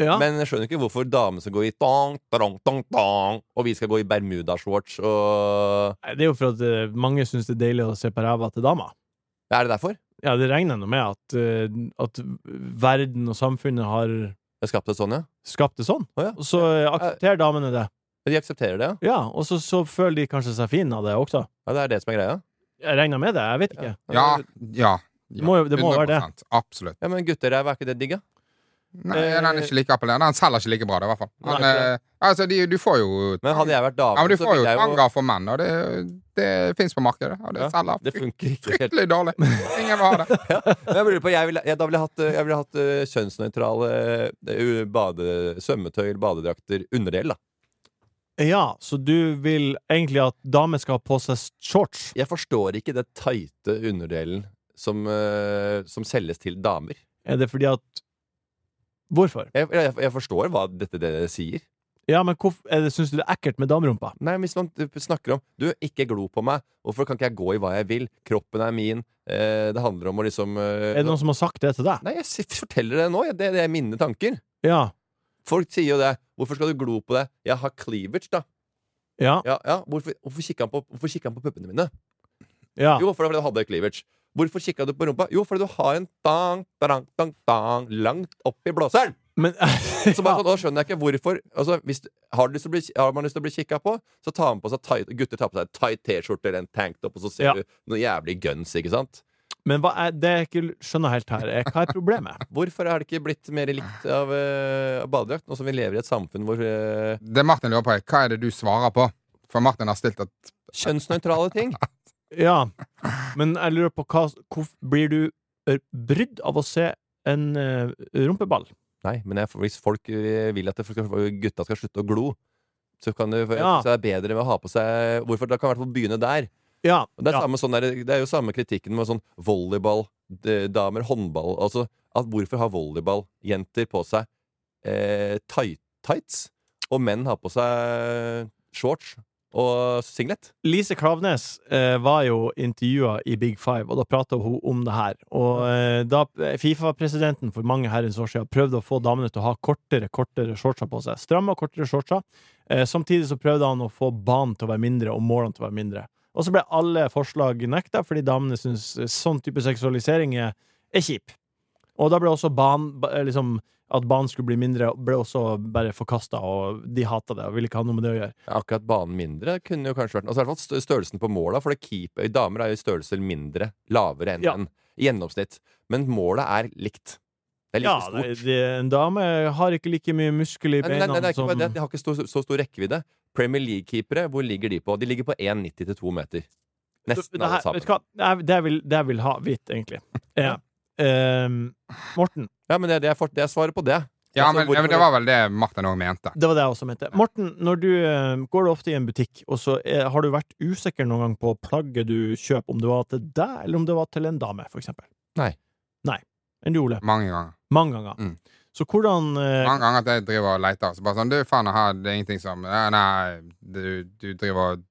B: Ja.
E: Men jeg skjønner ikke hvorfor damer skal gå i tong, tong, tong, tong, og vi skal gå i bermudashorts og
B: Nei, Det er jo for at eh, mange syns det er deilig å se på ræva til dama.
E: Er det derfor?
B: Ja, det regner nå med at, eh, at verden og samfunnet har
E: Det er skapt det sånn, ja?
B: skapt det sånn.
E: Å, ja.
B: Og så eh, aksepterer damene det.
E: De aksepterer det, ja?
B: Ja, og så, så føler de kanskje seg fine av det også.
E: ja? Det er det som er greia?
B: Jeg regner med det, jeg vet ikke.
D: Ja. ja.
B: Det må jo- det må være det.
D: 100%, Absolutt.
E: Ja, men gutteræv, er ikke det digg, da?
D: Nei, den er ikke like appellerende. Han selger ikke like bra, det, i hvert fall. Han,
B: Nei,
D: eh, altså, de, du får jo
E: Men hadde jeg vært dame,
D: ja, men Du
E: så
D: får jo
E: ville jeg jo
D: tanga for menn, og det, det fins på markedet. Og det
E: Ja,
D: selger
E: Det funker ikke helt.
D: fryktelig dårlig. Ingen vil ha
E: (laughs)
D: det.
E: Men Jeg lurer på, jeg ville, jeg, da ville jeg hatt, eh, jeg ville hatt eh, kjønnsnøytrale eh, u- bade, svømmetøy eller badedrakter underdel, da.
B: Ja, så du vil egentlig at damer skal ha på seg shorts?
E: Jeg forstår ikke det tighte underdelen som, eh, som selges til damer.
B: Er det fordi at Hvorfor?
E: Jeg, jeg, jeg forstår hva dette det sier.
B: Ja, men hvorf- er det- syns du det er ekkelt med damerumpa?
E: Nei, Hvis man eh, snakker om 'du, ikke glo på meg', hvorfor kan ikke jeg gå i hva jeg vil? Kroppen er min. Eh, det handler om å liksom eh,
B: Er det noen som har sagt det til deg?
E: Nei, jeg s- forteller det nå. Det, det er mine tanker.
B: Ja.
E: Folk sier jo det. Hvorfor skal du glo på det? Jeg har cleavage, da.
B: Ja.
E: Ja, ja. Hvorfor, hvorfor kikker han på, hvorfor kikker han på puppene mine?
B: Ja.
E: Jo, fordi du hadde cleavage. Hvorfor kikka du på rumpa? Jo, fordi du har en dang, dang, dang, dang langt oppi blåseren!
B: Men (laughs)
E: Så bare sånn, «Å, skjønner jeg ikke hvorfor altså, hvis, du- har, du lyst til å bli, har man lyst til å bli kikka på, så tar man på seg tight, gutter tar på seg tight T-skjorte eller en tanktop, og så ser
B: Ja.
E: du noen jævlig guns, ikke sant?
B: Men hva er, det jeg ikke skjønner helt her, er hva er problemet?
E: Hvorfor er det ikke blitt mer likt av, eh, av badedrakt, nå som vi lever i et samfunn hvor eh,
D: Det Martin lurer på, er hva er det du svarer på? For Martin har stilt at
E: kjønnsnøytrale
B: (laughs)
E: ting
B: Ja, men jeg lurer på hva hvorf- Blir du ø, brydd av å se en ø, rumpeball?
E: Nei, men jeg, hvis folk eh, vil at det skal, gutta skal slutte å glo, så, kan det,
B: Ja.
E: så er det bedre med å ha på seg Hvorfor? Da kan man i hvert fall begynne der.
B: Ja.
E: Og det, er
B: ja.
E: samme, sånn der, det er jo samme kritikken med sånn volleyball, d- damer, håndball altså, at Hvorfor har volleyballjenter på seg eh, tight, tights, og menn har på seg shorts og singlet?
B: Lise Klaveness eh, var jo intervjua i Big Five, og da prata hun om det her. Og eh, da Fifa-presidenten for mange herrens år siden prøvde å få damene til å ha kortere kortere shortser på seg, stramme og kortere shortser, eh, samtidig så prøvde han å få banen til å være mindre og målene til å være mindre. Og så ble alle forslag nekta, fordi damene syns eh, sånn type seksualisering er, er kjip. Og da ble også banen ba- eh, liksom, At banen skulle bli mindre, ble også bare forkasta, og de hata det og ville ikke ha noe med det å gjøre.
E: Akkurat banen mindre kunne jo kanskje vært Altså i hvert fall stø- størrelsen på måla, for det keeper, damer er jo i størrelser mindre, lavere enn
B: Ja.
E: menn, i gjennomsnitt. Men målet er likt. Det er like
B: Ja,
E: stort.
B: nei, det, en dame har ikke like mye muskel i
E: Nei, nei,
B: beina
E: nei, det er ikke
B: som
E: bare det. De har ikke stor, så stor rekkevidde. Premier League-keepere, hvor ligger de på? De ligger på 1,90 til 2 meter.
B: Det
E: Nesten
B: her-
E: alle
B: Vet
E: sammen.
B: du hva, det er- det jeg vil, det jeg vil ha hvitt, egentlig. Ja. Ehm, Morten,
E: Ja, men det, det, er for, det er svaret på det.
D: Ja,
E: Altså,
D: men
E: hvorfor-
D: ja, men det var vel det Martin òg mente.
B: det var det jeg også mente. Morten, når du eh, går du ofte i en butikk, og så er, har du vært usikker noen gang på plagget du kjøper, om det var til deg, eller om det var til en dame, for eksempel?
E: Nei. Mm.
B: Nei. Enn du, Ole?
D: Mange ganger.
B: Mange ganger.
D: Mm.
B: Så hvordan eh,
D: Mange ganger at jeg driver og leter. Så bare sånn, du faen, her, det er ingenting som ja, Nei, du, du driver og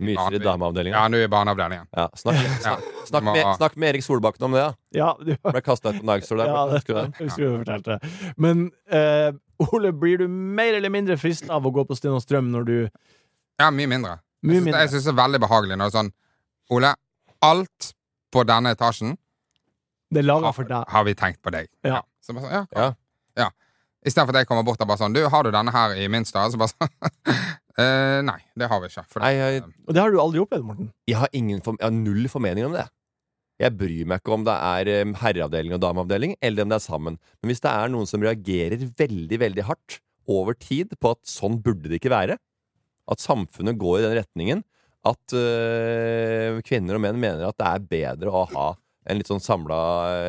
E: Myser i
D: Ja,
E: dameavdelingen.
D: du er i barneavdelingen.
E: Ja,
D: (laughs)
E: snakk, snakk, snakk,
D: Må-
E: med, snakk med Erik Solbakken om det, ja.
B: Ja, (laughs) du
E: Ble kasta ut på Nagestol der.
B: Ja, det
E: Husker du det?
B: (laughs) jeg skulle fortalt det. Men eh, Ole, blir du mer eller mindre frista av å gå på Sten og Strøm når du
D: Ja, mye mindre.
B: Mye
D: Jeg syns det,
B: mindre.
D: jeg synes det er veldig behagelig når det er sånn Ole, alt på denne etasjen
B: Det er laga
D: har,
B: for deg.
D: har vi tenkt på deg.
B: Ja.
D: Så bare sånn, ja,
E: Ja.
D: ja. Istedenfor at jeg kommer bort og bare sånn Du, har du denne her i min størrelse? Bare sånn (laughs) «Eh, Nei, det Eh, har vi ikke. For
E: Nei, jeg,
B: Og det har du aldri opplevd, Morten.
E: jeg, har ingen form- jeg har null formening om det. Jeg bryr meg ikke om det er eh, herreavdeling og dameavdeling, eller om det er sammen. Men hvis det er noen som reagerer veldig, veldig hardt over tid på at sånn burde det ikke være, at samfunnet går i den retningen, at eh, kvinner og menn mener at det er bedre å ha en litt sånn samla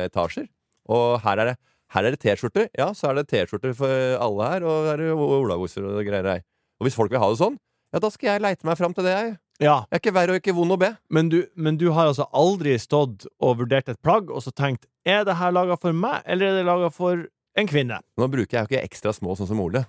E: etasjer. Og her er det her er det T-skjorter. Ja, så er det T-skjorter for alle her, og her er det olabukser og greier her. Og hvis folk vil ha det sånn, ja, da skal jeg leite meg fram til det, jeg.
B: Ja,
E: Jeg er ikke verre og ikke vond å be.
B: men du, men du har altså aldri stått og vurdert et plagg og så tenkt Er det her laga for meg, eller er det laga for en kvinne?
E: Nå bruker jeg jo ikke ekstra små sånn som Ole.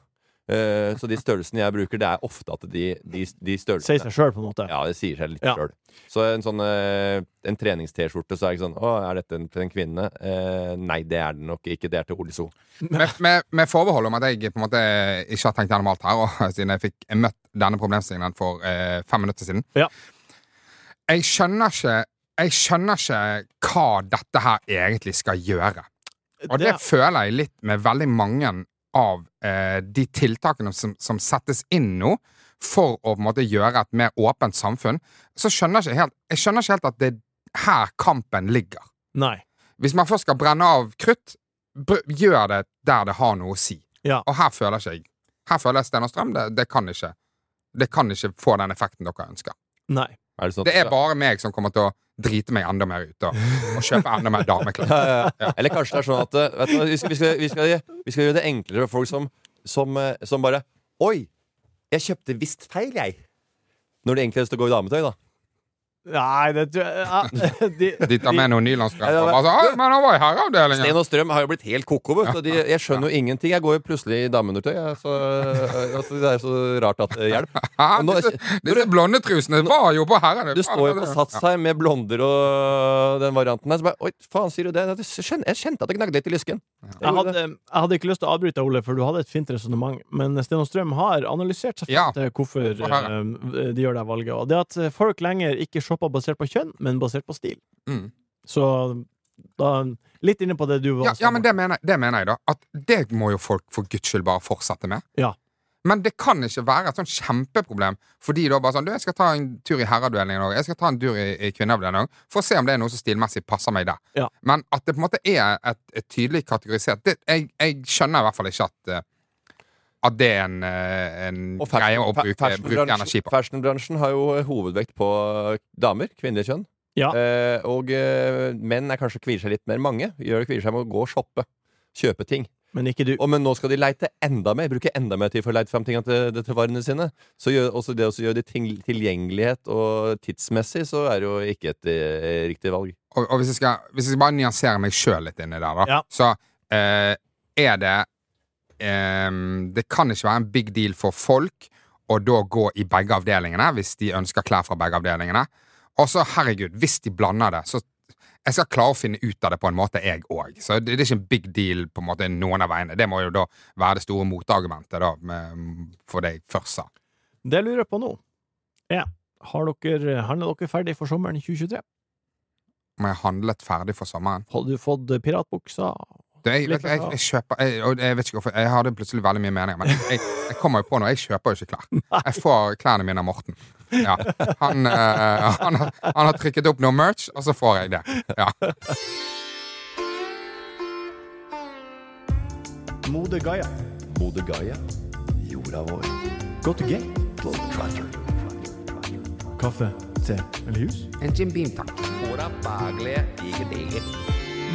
E: Eh, så de størrelsene jeg bruker, det er ofte at de, de, de størrelsene
B: Sier seg sjøl, på en måte.
E: Ja, det sier seg litt
B: Ja.
E: selv Så en sånn eh, En trenings-T-skjorte, så er det ikke sånn Å, er dette en, til en kvinne? Eh, nei, det er det nok ikke. Det er til Ole So.
D: med, med, med forbehold om at jeg på en måte ikke har tenkt gjennom alt her, og (laughs) siden jeg fikk møtt denne problemstillingen for eh, fem minutter siden
B: Ja.
D: Jeg skjønner ikke Jeg skjønner ikke hva dette her egentlig skal gjøre. Og det,
B: Det-
D: føler jeg litt med veldig mange av eh, de tiltakene som, som settes inn nå for å på en måte gjøre et mer åpent samfunn. Så skjønner jeg ikke helt, jeg skjønner ikke helt at det er her kampen ligger.
B: Nei.
D: Hvis man først skal brenne av krutt, br gjør det der det har noe å si.
B: Ja.
D: Og her føler ikke jeg Her føler jeg Sten og Strøm, det, det kan ikke Det kan ikke få den effekten dere ønsker.
B: Nei.
E: Er det sånn at-
D: Det er bare meg som kommer til å drite meg enda mer ut og, og kjøpe enda
E: (laughs)
D: mer dameklær.
E: ja, ja, ja. Eller kanskje det er sånn at eh, vet du, hva, vi, skal, vi, skal, vi, skal, vi skal gjøre det enklere for folk som, som, eh, som bare Oi! Jeg kjøpte visst feil, jeg. Når de egentlig har lyst til å gå i dametøy, da.
B: Nei, det tror jeg ja,
E: (laughs)
B: (laughs) de,
D: De tar med noen nylandsdresser
E: Ja,
D: og
E: det
D: bare
E: var-
D: så, «Oi, men han var i herreavdelingen!
E: Sten
D: (laughs)
E: og Strøm har jo blitt helt koko, vet du. og De, jeg skjønner jo ingenting. Jeg går jo plutselig i dameundertøy. jeg, Så, eh, altså, det er så rart at eh, Hjelp.
D: Hæ?
E: Og nå-
D: Disse, disse blonde trusene var jo på herrene!
E: Du står jo på sats her med blonder og den varianten der. Så bare, Oi, faen, sier du det? Jeg skjøn- jeg kjente at det gnagde litt i lysken.
B: jeg, hadde, jeg hadde ikke lyst til å avbryte, Ole, for du hadde et fint resonnement, men Sten og Strøm har analysert seg
D: Ja.
B: fram til hvorfor
D: Få høre.
B: eh, de gjør det eh, valget. Og det at folk lenger ikke shopper basert på kjønn, men basert på stil.
D: Mm.
B: Så da, litt inne på det du var
D: Ja, ja men det mener, det mener jeg, da. At det må jo folk for guds skyld bare fortsette med.
B: Ja.
D: Men det kan ikke være et sånn kjempeproblem for de da bare sånn Du, jeg skal ta en tur i herreavdelingen òg. Jeg skal ta en tur i, i kvinneavdelingen òg. For å se om det er noe som stilmessig passer meg der.
B: Ja.
D: Men at det på en måte er et, et tydelig kategorisert det, jeg, jeg skjønner i hvert fall ikke at eh, at det er en, eh, en
E: Og fashion-
D: greie å
E: fa-
D: bruke, bruke
E: fashionbransjen-
D: energi på.
E: Fashionbransjen har jo eh, hovedvekt på eh, damer, kvinnelig kjønn.
B: Ja.
E: Eh, og eh, menn er kanskje kvier seg litt mer. Mange gjør kvier seg med å gå og shoppe. Kjøpe ting.
B: Men ikke du.
E: Og, men nå skal de leite enda mer, bruke enda mer tid for å leite fram tingene til, til varene sine. Så gjør, også det å gjøre det ting, tilgjengelighet og tidsmessig, så er det jo ikke et eh, riktig valg.
D: og, og hvis, jeg skal, hvis jeg skal bare nyansere meg sjøl litt inni der, da,
B: Ja.
D: så eh, er det eh, Det kan ikke være en big deal for folk å da gå i begge avdelingene hvis de ønsker klær fra begge avdelingene. Og så, herregud, hvis de blander det, så jeg skal klare å finne ut av det på en måte, jeg òg. Så det, det er ikke en big deal på en måte noen av veiene. Det må jo da være det store motargumentet da, med, for det jeg først sa.
B: Det jeg lurer på nå, er har dere handla dere ferdig for sommeren 2023?
D: Om jeg handlet ferdig for sommeren.
B: Har du fått piratbuksa?
D: Du, jeg,
B: Litt sånn, av-
D: vet, jeg, jeg kjøper jeg, og jeg vet ikke hvorfor Jeg hadde plutselig veldig mye meninger, men jeg, jeg, jeg kommer jo på noe. Jeg kjøper jo ikke
B: (laughs)
D: klær. Jeg får klærne mine av Morten. Ja. Han, eh, han, har- han har trykket opp noe merch, og så får jeg det. Ja.
B: Mode Gaia.
C: Mode Gaia, jorda vår.
B: Go to gate.
C: Globe Trotter.
B: Kaffe, te eller hus?
D: En Jim Beam, takk.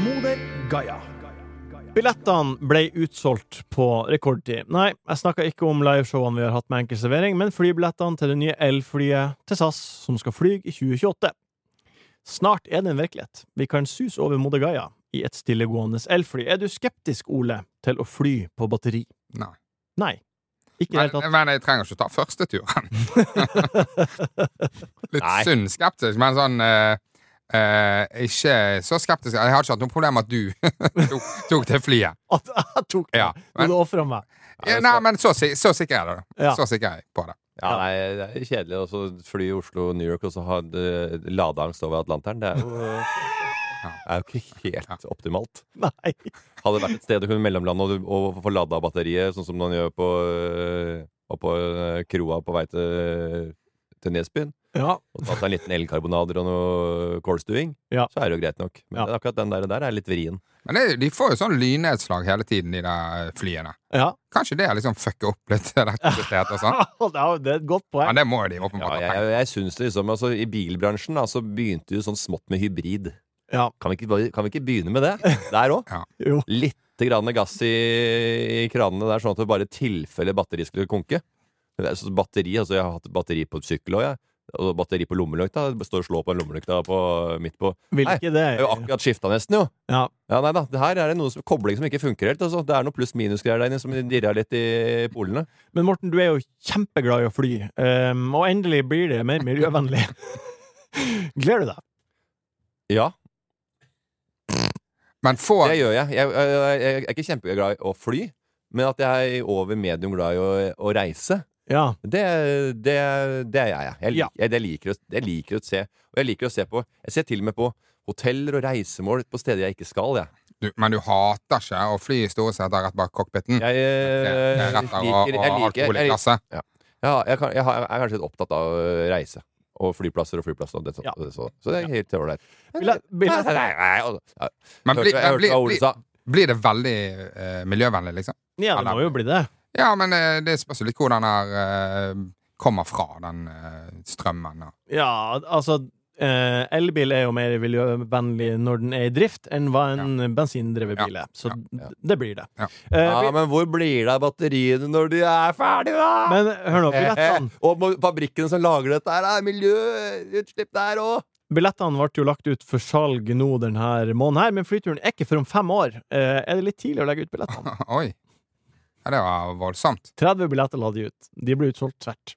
B: Moder Gaia. Billettene ble utsolgt på rekordtid. Nei, jeg snakker ikke om liveshowene vi har hatt med enkeltservering, men flybillettene til det nye elflyet til SAS, som skal fly i 2028. Snart er det en virkelighet. Vi kan suse over Moder Gaia i et stillegående elfly. Er du skeptisk, Ole, til å fly på batteri?
D: Nei.
B: Nei. Ikke i det hele
D: Men,
B: tatt.
D: men jeg trenger ikke ta første
B: (laughs)
D: turen. Litt
E: Nei.
D: sunn skeptisk, men sånn eh, eh, Ikke så skeptisk. Jeg har ikke hatt noe problem med at du (laughs) tok, tok det flyet.
B: At jeg tok det!
D: Ja,
B: men...
D: men-
B: Du ofra meg.
D: Ja, Nei, men så, si- så sikker er det. da.
B: Ja.
D: Så sikker er jeg på det.
E: Ja, nei, det er kjedelig å så fly i Oslo og New York og så ha eh, ladeangst over Atlanteren. Det er jo, eh, er jo ikke helt optimalt.
B: Nei.
E: Hadde det vært et sted å kunne mellomlande og, og få lada batteriet, sånn som man gjør på, eh, oppå eh, kroa på vei til, eh, til Nesbyen,
B: Ja.
E: og tatt seg en liten elkarbonader og noe kålstuing,
B: Ja.
E: så er det jo greit nok. Men
B: Ja.
E: det er akkurat den der, der er litt vrien.
D: Men det, de får jo sånn lynnedslag hele tiden, de der eh, flyene.
B: ja. (laughs)
D: Kanskje det liksom fucker opp litt (laughs) elektrisitet og sånn.
B: Det er jo- det er et godt poeng.
D: Men det må jo de
E: Ja,
D: åpenbart
E: jeg,
D: ha
E: jeg, jeg syns det liksom altså, I bilbransjen da, så begynte jo sånn smått med hybrid.
B: Ja.
E: Kan vi ikke, bare- kan vi ikke begynne
B: (laughs)
E: med det der òg?
B: Jo.
E: Litt grann gass i, i kranene der, sånn at det bare i tilfelle batteri skulle konke. Det er så Batteri, altså Jeg har hatt batteri på sykkel òg, jeg. Og batteri på lommelykta. Jeg Står og slår på en lommelykta på, midt på.
B: Vil
E: Nei,
B: ikke det.
E: Jeg har jo akkurat skifta nesten, jo.
B: Ja.
E: Ja, nei da, det her er det noe som, kobling som ikke funker helt. Altså. Det er noe pluss-minus-greier der inne som dirrer litt i polene.
B: Men Morten, du er jo kjempeglad i å fly, ehm, og endelig blir det mer miljøvennlig. (laughs) Gleder du deg?
E: Ja,
D: Men får
E: det gjør jeg. Jeg, jeg, jeg, jeg er ikke kjempeglad i å fly, men at jeg er over medium glad i å, å reise.
B: Ja.
E: Det, det, det er jeg. Jeg, lik,
B: Ja.
E: jeg, jeg, liker å, jeg liker å se. Og jeg liker å se på Jeg ser til og med på hoteller og reisemål på steder jeg ikke skal. Jeg,
D: du, Men du hater ikke å fly i store seter rett bak cockpiten?
E: jeg,
D: Det
E: eh,
D: er rett der
E: liker,
D: og,
E: jeg, liker,
D: og alkohol i
E: jeg, jeg,
D: glasset.
E: ja, jeg, kan- jeg, har- jeg er kanskje litt opptatt av eh, reise. Og flyplasser og flyplasser. Og det, sånt.
B: Ja.
E: så, så det er helt ålreit.
B: Billa- billa-
E: Nei, nei, nei, altså, ja.
D: Men
E: Hørte-
D: blir-
E: jeg
D: men
E: hørte
D: blir-
E: hva Ole
D: blir-
E: sa.
D: Blir det veldig eh, miljøvennlig, liksom?
B: ja, det må jo bli det.
D: Ja, men eh, det spørs jo litt hvor den her eh, kommer fra, den eh, strømmen. Og.
B: Ja, altså eh, Elbil er jo mer miljøvennlig når den er i drift, enn hva en bensindrevet bil er. Så
D: Ja,
E: ja.
B: d- det blir det.
D: Ja.
B: Eh,
E: Ja,
B: vi-
E: men hvor blir det av batteriene når de er ferdige, da? Eh,
B: men sånn- hør nå,
E: (laughs)
B: billettene
E: og må- fabrikkene som lager dette, her, det er miljøutslipp der òg.
B: Billettene ble jo lagt ut for salg nå denne måneden, her, men flyturen er ikke før om fem år. Eh, er det litt tidlig å legge ut billettene?
E: (laughs)
D: Oi. Ja, det var voldsomt.
B: 30 billetter la de ut. De ble utsolgt tvert.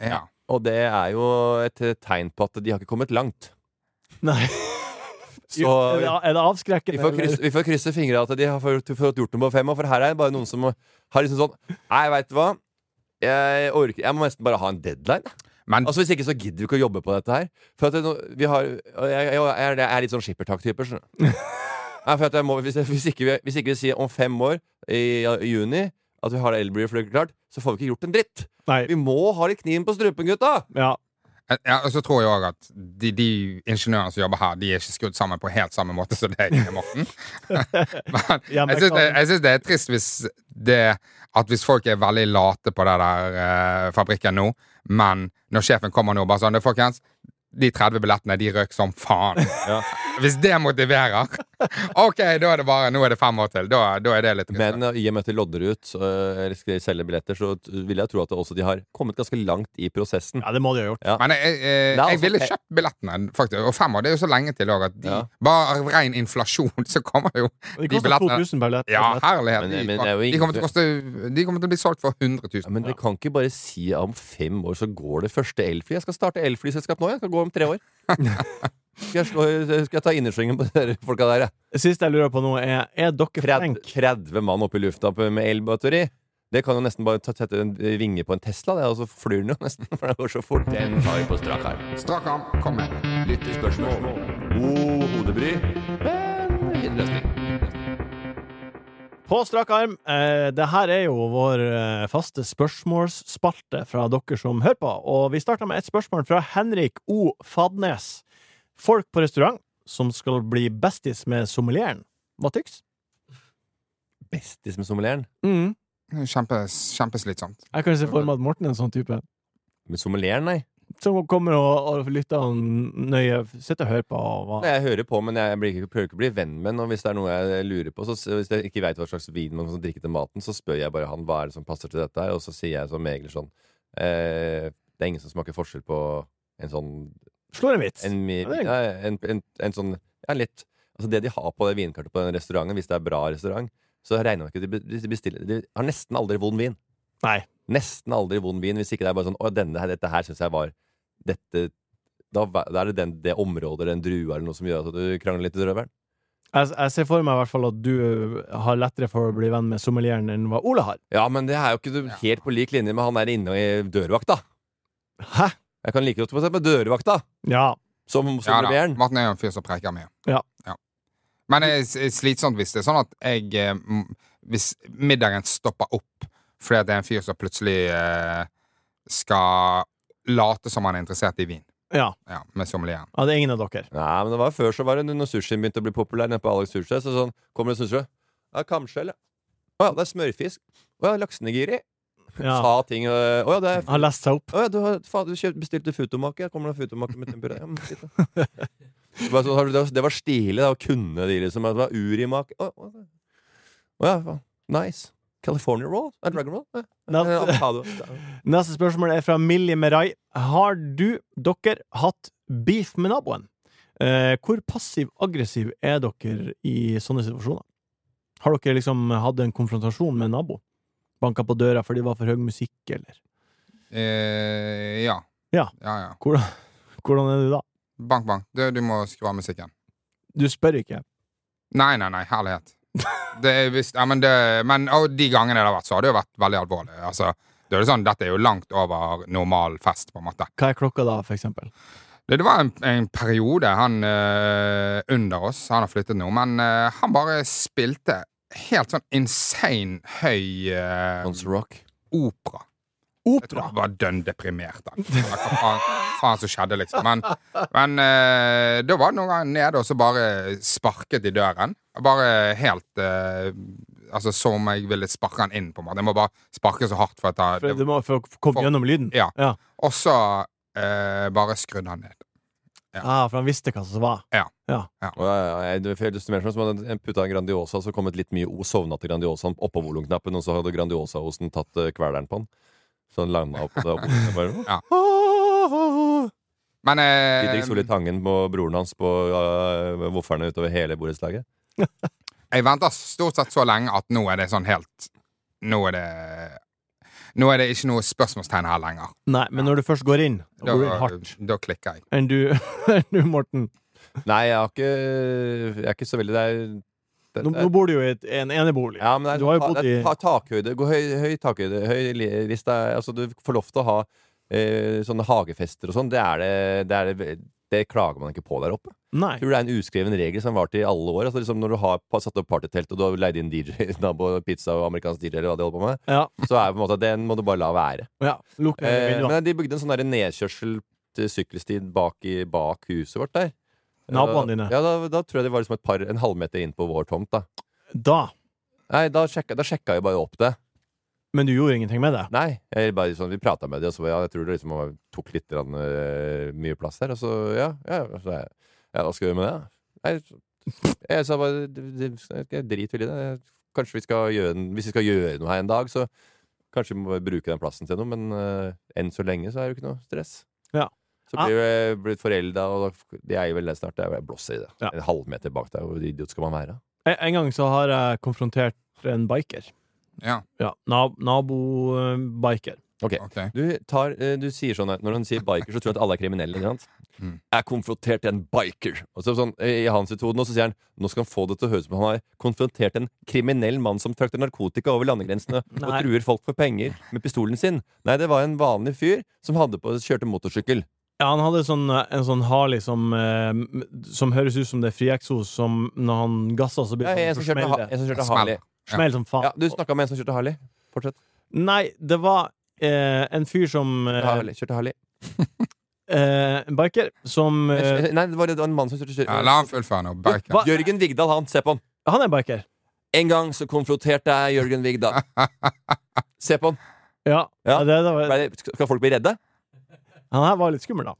D: Ja.
E: Og det er jo et tegn på at de har ikke kommet langt.
B: (laughs) Nei.
E: Så
B: er det,
E: vi-
B: er det avskrekkende?
E: vi får
B: eller?
E: krysse, vi får krysse fingra at de har fått fått gjort noe på fem år, for her er det bare noen som har liksom sånn Nei, veit du hva? Jeg orker Jeg må nesten bare ha en deadline.
D: Men
E: Altså Hvis ikke så gidder vi ikke å jobbe på dette her. For at det, nå- vi har Jeg, jeg, jeg, er- jeg er litt sånn skippertak-typer. skjønner du. Nei, for at jeg må, hvis, jeg- hvis, ikke vi, hvis ikke vi sier om fem år, i, i juni, at vi har elbilflyet klart, så får vi ikke gjort en dritt.
B: Nei.
E: Vi må ha litt kniven på strupen, gutta!
B: Ja.
D: Eh, Ja, og så tror jeg òg at de, de ingeniørene som jobber her, de er ikke skrudd sammen på helt samme måte som deg,
B: (laughs)
D: Morten. Men
B: Ja, men
D: jeg syns det,
B: kan-
D: jeg synes det er trist hvis det At hvis folk er veldig late på den der eh, fabrikken nå, men når sjefen kommer nå og bare sånn «Du, Folkens, de 30 billettene, de røk som faen. Hvis det motiverer, OK, da er det bare Nå er det fem år til. Da, da er det litt
E: Men eh, i og med at de lodder ut øh, eller skal selge billetter, så t- vil jeg tro at det også de har kommet ganske langt i prosessen.
B: ja, det må de ha gjort.
E: Ja.
D: Men jeg, jeg, jeg,
E: Det er altså-
D: ville kjøpt billettene, faktisk. Og fem år, det er jo så lenge til òg at de
E: Ja.
D: Bare av ren inflasjon, så kommer jo
B: De koster 2000 per billett.
D: Ja, herlighet.
E: Men- eh,
D: de,
E: men det er jo
D: de,
E: ingen-
D: kommer til å koste, de kommer til å bli solgt for 100
E: Ja,
D: 000.
E: men det kan ikke bare si at om fem år så går det første elfly. Jeg skal starte elflyselskap nå. Jeg skal gå om tre år. skal, jeg slå, eh, skal jeg ta innersvingen på dere folka der, jeg?
B: Det siste jeg lurer på nå, er Er dere
E: Tred-
B: flinke?
E: 30 mann opp i lufta på- med elbatteri. Det kan jo nesten bare ta- tette en vinge på en Tesla, det, og så flyr den jo nesten. For det går så fort. Den tar på strak arm.
D: Strak arm, kom med.
E: Lyttespørsmål. God hodebry, men fin løsning.
B: På strak arm. Eh, det her er jo vår eh, faste spørsmålsspalte fra dere som hører på. Og vi starter med et spørsmål fra Henrik O. Fadnes. Folk på restaurant som skal bli besties med sommelieren. Hva tyks?
E: Bestis med sommelieren.
D: Kjempe, kjempeslitsomt.
B: Mm. Jeg kan se for meg at Morten er en sånn type.
E: Med sommelieren, nei.
B: Som kommer og, og lytter han nøye. Sitter og hører på. Og hva.
E: Nei, Jeg hører på, men jeg blir ikke, prøver ikke å bli venn med den. Og hvis det er noe jeg lurer på, så, hvis jeg ikke veit hva slags vin man skal drikke til maten, så spør jeg bare han hva er det som passer til dette her, og så sier jeg som megler sånn eh, Det er ingen som smaker forskjell på en sånn
B: Slår en vits.
E: En, mi-
B: Ja, det er-
E: ja, en, en, en sånn Ja, litt Altså det de har på det vinkartet på den restauranten, hvis det er bra restaurant, så regner jeg ikke med at de be- de bestiller De har nesten aldri vond vin.
B: Nei.
E: Nesten aldri vond vin, hvis ikke det er bare sånn Å, denne her, dette her syns jeg var Dette da, va- da er det den, det området, den drua eller noe som gjør at du krangler litt i røveren.
B: Jeg, jeg ser for meg i hvert fall at du eh, har lettere for å bli venn med sommelieren enn hva Ole har.
E: Ja, men det er jo ikke du- helt på lik linje med han der inne i dørvakta.
B: Hæ?
E: Jeg kan like godt få sett med dørvakta
B: Ja.
E: som
D: Ja da,
E: sommelieren.
D: Martin er jo en fyr som preker mye.
B: Ja.
D: Men det er s- slitsomt hvis det er sånn at jeg eh, m- Hvis middagen stopper opp fordi at det er en fyr som plutselig eh, skal late som han er interessert i vin.
B: Ja.
D: Ja, med sommelieren.
B: ja det er ingen av dere.
E: Nei, men det var før så var det når sushien begynte å bli populær nede på Alex Sushi. Så sånn, kommer det sushi. Ja, kamskjell, ja. Å ja, det er smørfisk. Å ja, laksenegiri.
B: Ja.
E: Sa ting øh, Å ja, det er
B: Har lest seg opp.
E: å ja, du, har, faen, du kjøpt, bestilte futomake. Ja, kommer det futomake med tempura? Ja, men fint, da. (laughs) Det var sånn, har du- det var- Det var stilig da, å kunne de, liksom. Det var urimake. Å, å, å. Å ja, faen. Nice. California roll? Er det dragon roll? Ja.
B: Nei.
E: Eh, avokado.
B: Neste spørsmål er fra Millie Merai. Har du, dere, hatt beef med naboen? Eh, hvor passiv-aggressiv er dere i sånne situasjoner? Har dere liksom hatt en konfrontasjon med en nabo? Banka på døra fordi det var for høy musikk, eller?
D: Eh, ja.
B: Ja.
D: ja, ja.
B: Hvordan, (laughs) hvordan er du da?
D: Bank, bank. Du, du må skru av musikken.
B: Du spør ikke.
D: Nei, nei, nei, herlighet. Det er visst, ja, men, det, men og de gangene det har vært, så har det jo vært veldig alvorlig. Altså, det er jo sånn, dette er jo langt over normal fest, på en måte.
B: Hva er klokka da, for eksempel?
D: Det, det var en, en periode han eh, under oss, han har flyttet nå, men eh, han bare spilte helt sånn insane høy eh,
E: Guns N' Rock.
D: opera. Jeg tror
B: Opera!
D: han var dønn deprimert. da. Eller Hva faen, faen som skjedde, liksom. Men, men eh, da var det noen ganger nede, og så bare sparket i døren. Bare helt eh, Altså som om jeg ville sparke han inn, på en måte. Jeg må bare sparke så hardt for at han-
B: For, eh, du må, for å komme
D: For-
B: gjennom lyden?
D: Ja.
B: ja.
D: Og så eh, bare skrudde han ned.
B: Ah, for han visste hva som var.
E: Å, ja, ja, jeg, det- for jeg illustrerer som om han putta en Grandiosa, så kom det litt mye o- sovna til Grandiosaen oppå volumknappen, og så hadde Grandiosa-osten tatt eh, kveleren på den. Så han landa opp så osten bare,
D: Ja.
E: «Åh!»
D: Men eh,
E: Didrik Solli Tangen på broren hans på uh, vofferne utover hele borettslaget.
D: jeg venta stort sett så lenge at nå er det sånn helt Nå er det Nå er det ikke noe spørsmålstegn her lenger.
B: Nei, men når du først går inn, da
D: Da,
B: går du inn hardt.
D: da klikker jeg.
B: Enn du, (laughs) enn du Morten.
E: Nei, jeg har ikke Jeg er ikke så veldig der det,
B: Nå, nå bor du jo i et, en enebolig.
E: ja, men det er,
B: du har jo
E: ta,
B: bodd
E: det
B: i
E: er ta, takhøyde. Gå høy, høy takhøyde. Høy li- rist er, altså, du får lov til å ha eh, sånne hagefester og sånn, det er det, det er det det klager man ikke på der oppe.
B: Nei.
E: Jeg tror det er en uskreven regel som varte i alle år. Altså liksom Når du har pa- satt opp partytelt og du har leid inn DJ, (laughs) nabo, pizza og amerikansk DJ, eller hva de holder på med,
B: Ja.
E: så er det på en måte den må du bare la være.
B: ja. Lukk øynene
E: Eh,
B: mine, da.
E: men de bygde en sånn der nedkjørsel til sykkelstien bak, i, bak huset vårt der.
B: Naboene
E: Da-
B: dine.
E: Ja, da, da tror jeg det var liksom et par, en halvmeter inn på vår tomt. da
B: Da.
E: Nei, da sjekka, da sjekka jeg bare opp det.
B: Men du gjorde ingenting med det?
E: Nei, jeg bare sånn, Vi prata med de, og så ja, jeg tror det liksom var- tok litt grann, eh, mye plass her. Og så ja, ja, så, jeg, ja, hva skal vi gjøre med det? da? Nei, så- jeg sa bare det- det- jeg driter vel i det. Kanskje vi skal gjøre en, Hvis vi skal gjøre noe her en dag, så kanskje vi må bare bruke den plassen til noe. Men eh, enn så lenge så er det jo ikke noe stress.
B: Ja.
E: Så blir jeg blitt forelda, og da- de er jo vel det snart. Jeg blåser i det.
B: Ja.
E: En halvmeter bak deg, hvor idiot skal man være?
B: En- En gang så har jeg konfrontert en biker.
D: Ja,
B: Ja, nab Nabobiker.
D: ok.
E: Du, tar, eh, du sier sånn her, Når han sier biker, så tror han at alle er kriminelle. Ikke sant?
D: Mm.
E: Jeg er konfrontert til en biker. Og så sånn, eh, I hans metode nå så sier han Nå skal han få det til å høres ut som han har konfrontert en kriminell mann som frakter narkotika over
B: (laughs)
E: landegrensene og
B: Nei.
E: truer folk for penger med pistolen sin. Nei, det var en vanlig fyr som hadde på, kjørte motorsykkel.
B: Ja, han hadde sånn, eh, en sånn Harley som, eh, m- som høres ut som det er frieksos, som når han gasser, så blir
E: Ja,
B: det
E: en som
B: sånn
E: kjørte,
B: smell.
E: ha- en
B: det.
E: som kjørte
D: Smell.
E: Harley.
B: Smell som faen.
E: Ja, du snakka med en som kjørte Harley. Fortsett.
B: Nei, det var eh, en fyr som eh,
E: Harley. Kjørte Harley.
B: eh, En biker som eh,
E: Nei, det var, det var en mann som kjørte
D: Ja, la han fullføre nå. Biker.
B: Hva?
E: Jørgen Vigdal, han. Se på han.
B: Han er biker.
E: En gang så konfronterte jeg
B: (laughs)
E: Jørgen Vigdal. Se på han.
B: Ja.
E: Ja.
B: ja, det, det var,
E: Ble det- Skal folk bli redde?
B: han her var litt skummel, da.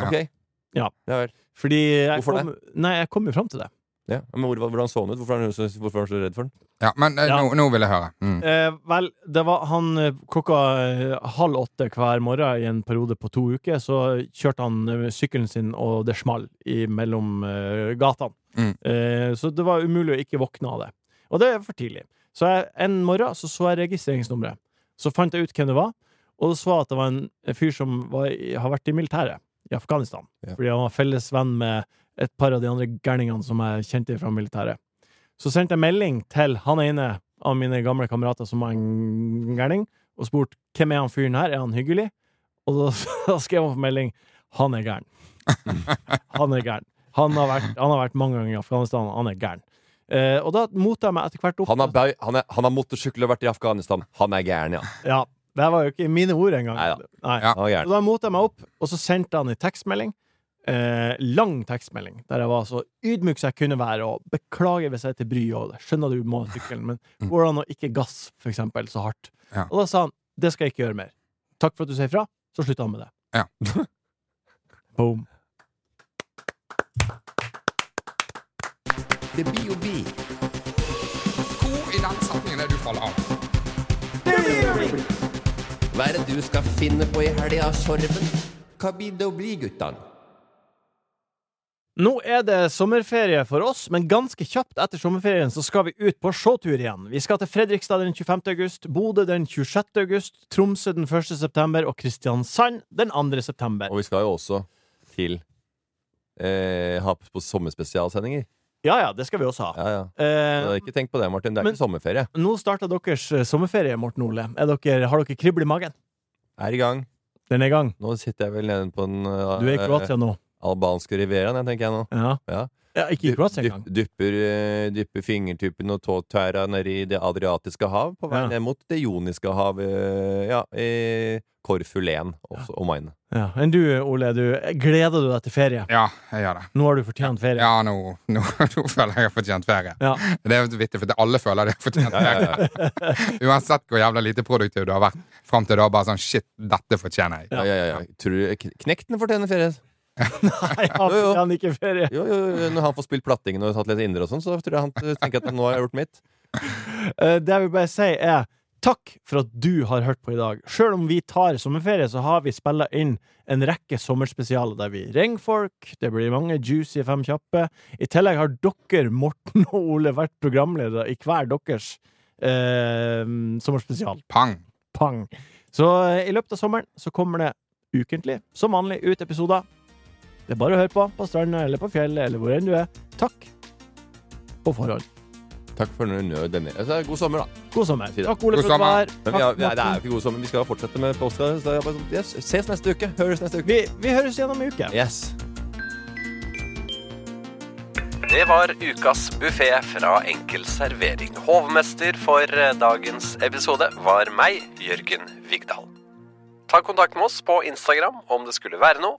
D: Ja.
E: Ok.
B: Ja.
E: vel.
B: Fordi jeg
E: Hvorfor
B: kom, Nei, jeg kom jo fram til det.
E: Ja. Men hvor, hvordan så han ut? Hvorfor er han så, hvorfor er han så redd for den?
D: Ja, men eh,
B: Ja.
D: Nå, nå vil jeg høre. Mm.
B: Eh, vel, det var han eh, klokka eh, halv åtte hver morgen i en periode på to uker, så kjørte han eh, sykkelen sin, og det small i mellom eh, gatene.
D: Mm.
B: Eh, så det var umulig å ikke våkne av det. Og det er for tidlig. Så jeg, en morgen så, så jeg registreringsnummeret. Så fant jeg ut hvem det var, og så at det var en fyr som var, i- har vært i militæret i Afghanistan.
E: Ja.
B: Fordi han var felles venn med et par av de andre gærningene som jeg kjente fra militæret. Så sendte jeg melding til han ene av mine gamle kamerater som var en gærning, og spurte hvem er han fyren her, er han hyggelig? Og da, (laughs) da skrev han på melding han er
E: (laughs)
B: gæren. Han er gæren. Han har vært, han har vært mange ganger i Afghanistan, han er gæren. Eh, og da mota jeg meg etter hvert opp
E: Han har, bau- han er, han har motorsykkel og vært i Afghanistan. Han er gæren, ja.
B: Ja, det var jo ikke mine ord engang.
E: Neida.
B: Nei.
D: Ja.
E: Han
B: Så
E: er gæren.
B: da motet jeg meg opp, og så sendte han en tekstmelding. Eh, lang tekstmelding, der jeg var så ydmyk som jeg kunne være, og beklager hvis jeg er til bry, og jeg skjønner du må ha sykkelen, men går det an å ikke gass, for eksempel, så hardt?
D: Mm. Ja.
B: Og da sa han, det skal jeg ikke gjøre mer. Takk for at du sier fra, så slutter han med det.
D: Ja.
B: Boom.
C: Det blir jo bil.
D: Hvor i den setningen er du faller av?
C: Hva er det du skal finne på i helga, Sorven? Hva blir det å bli, guttene?
B: Nå er det sommerferie for oss, men ganske kjapt etter sommerferien så skal vi ut på showtur igjen. Vi skal til Fredrikstad den 25. august, Bodø den 26. august, Tromsø den 1. september og Kristiansand den 2. september.
E: Og vi skal jo også til eh, ha på sommerspesialsendinger.
B: Ja ja, det skal vi også ha.
E: Ja, ja. Så
B: Eh,
E: ikke tenk på det, Martin. Det er
B: Men-
E: ikke sommerferie.
B: nå starter deres eh, sommerferie, Morten Ole. Er dere, har dere kribbel i magen?
E: Er i gang.
B: Den er i gang.
E: Nå sitter jeg vel nede på den eh,
B: Du er i Kroatia nå.
E: albanske rivieraen, jeg, tenker jeg nå.
B: Ja.
E: Ja.
B: Ja, ikke i Kroatia
E: Dyp-
B: engang.
E: Dypper, eh, dypper fingertuppen og tåtæra nedi Det adriatiske hav, på vei
B: Ja.
E: ned mot Det joniske hav, eh, ja, i Korfulen også, og mine.
B: Ja. Enn du, Ole, du, gleder du deg til ferie?
D: Ja, jeg gjør det.
B: Nå har du fortjent ferie.
D: Ja, nå, nå, (laughs) nå føler jeg jeg har fortjent ferie.
B: Ja. (laughs)
D: Det er jo vittig, for alle føler de har fortjent ferie. Uansett hvor jævla lite produktiv du har vært fram til da. Bare sånn shit, dette fortjener jeg.
E: Ja, ja, ja. Tror du kn- Knekten fortjener ferie?
B: Nei, han
E: Jo, jo.
B: fortjener ikke ferie.
E: Jo, jo, jo, når han får spilt plattingen og tatt litt indre og sånn, så tror jeg han tenker at nå har jeg gjort mitt.
B: Eh, Det jeg vil bare si er takk for at du har hørt på i dag. Selv om vi tar sommerferie, så har vi spilla inn en rekke sommerspesialer der vi ringer folk. Det blir mange juicy fem kjappe. I tillegg har dere, Morten og Ole, vært programledere i hver deres eh, sommerspesial.
D: Pang!
B: Pang! Så eh, i løpet av sommeren så kommer det ukentlig, som vanlig, ut episoder. Det er bare å høre på, på stranda eller på fjellet eller hvor enn du er. Takk på forhånd.
F: Takk for nø- denne. Altså, god sommer, da.
B: God sommer.
F: Si det.
B: Takk, Ole, for at
D: God
B: du var
D: sommer.
B: her.
F: Men vi har,
B: Takk,
F: nei, det er
B: Morten.
F: jo ikke god sommer. Vi skal fortsette med påska. Så det er bare sånn, yes, ses neste uke. Høres neste uke.
B: Vi, vi høres igjen om en uke.
F: Yes.
E: Det var ukas buffé fra Enkel servering. Hovmester for eh, dagens episode var meg, Jørgen Vigdal. Ta kontakt med oss på Instagram om det skulle være noe.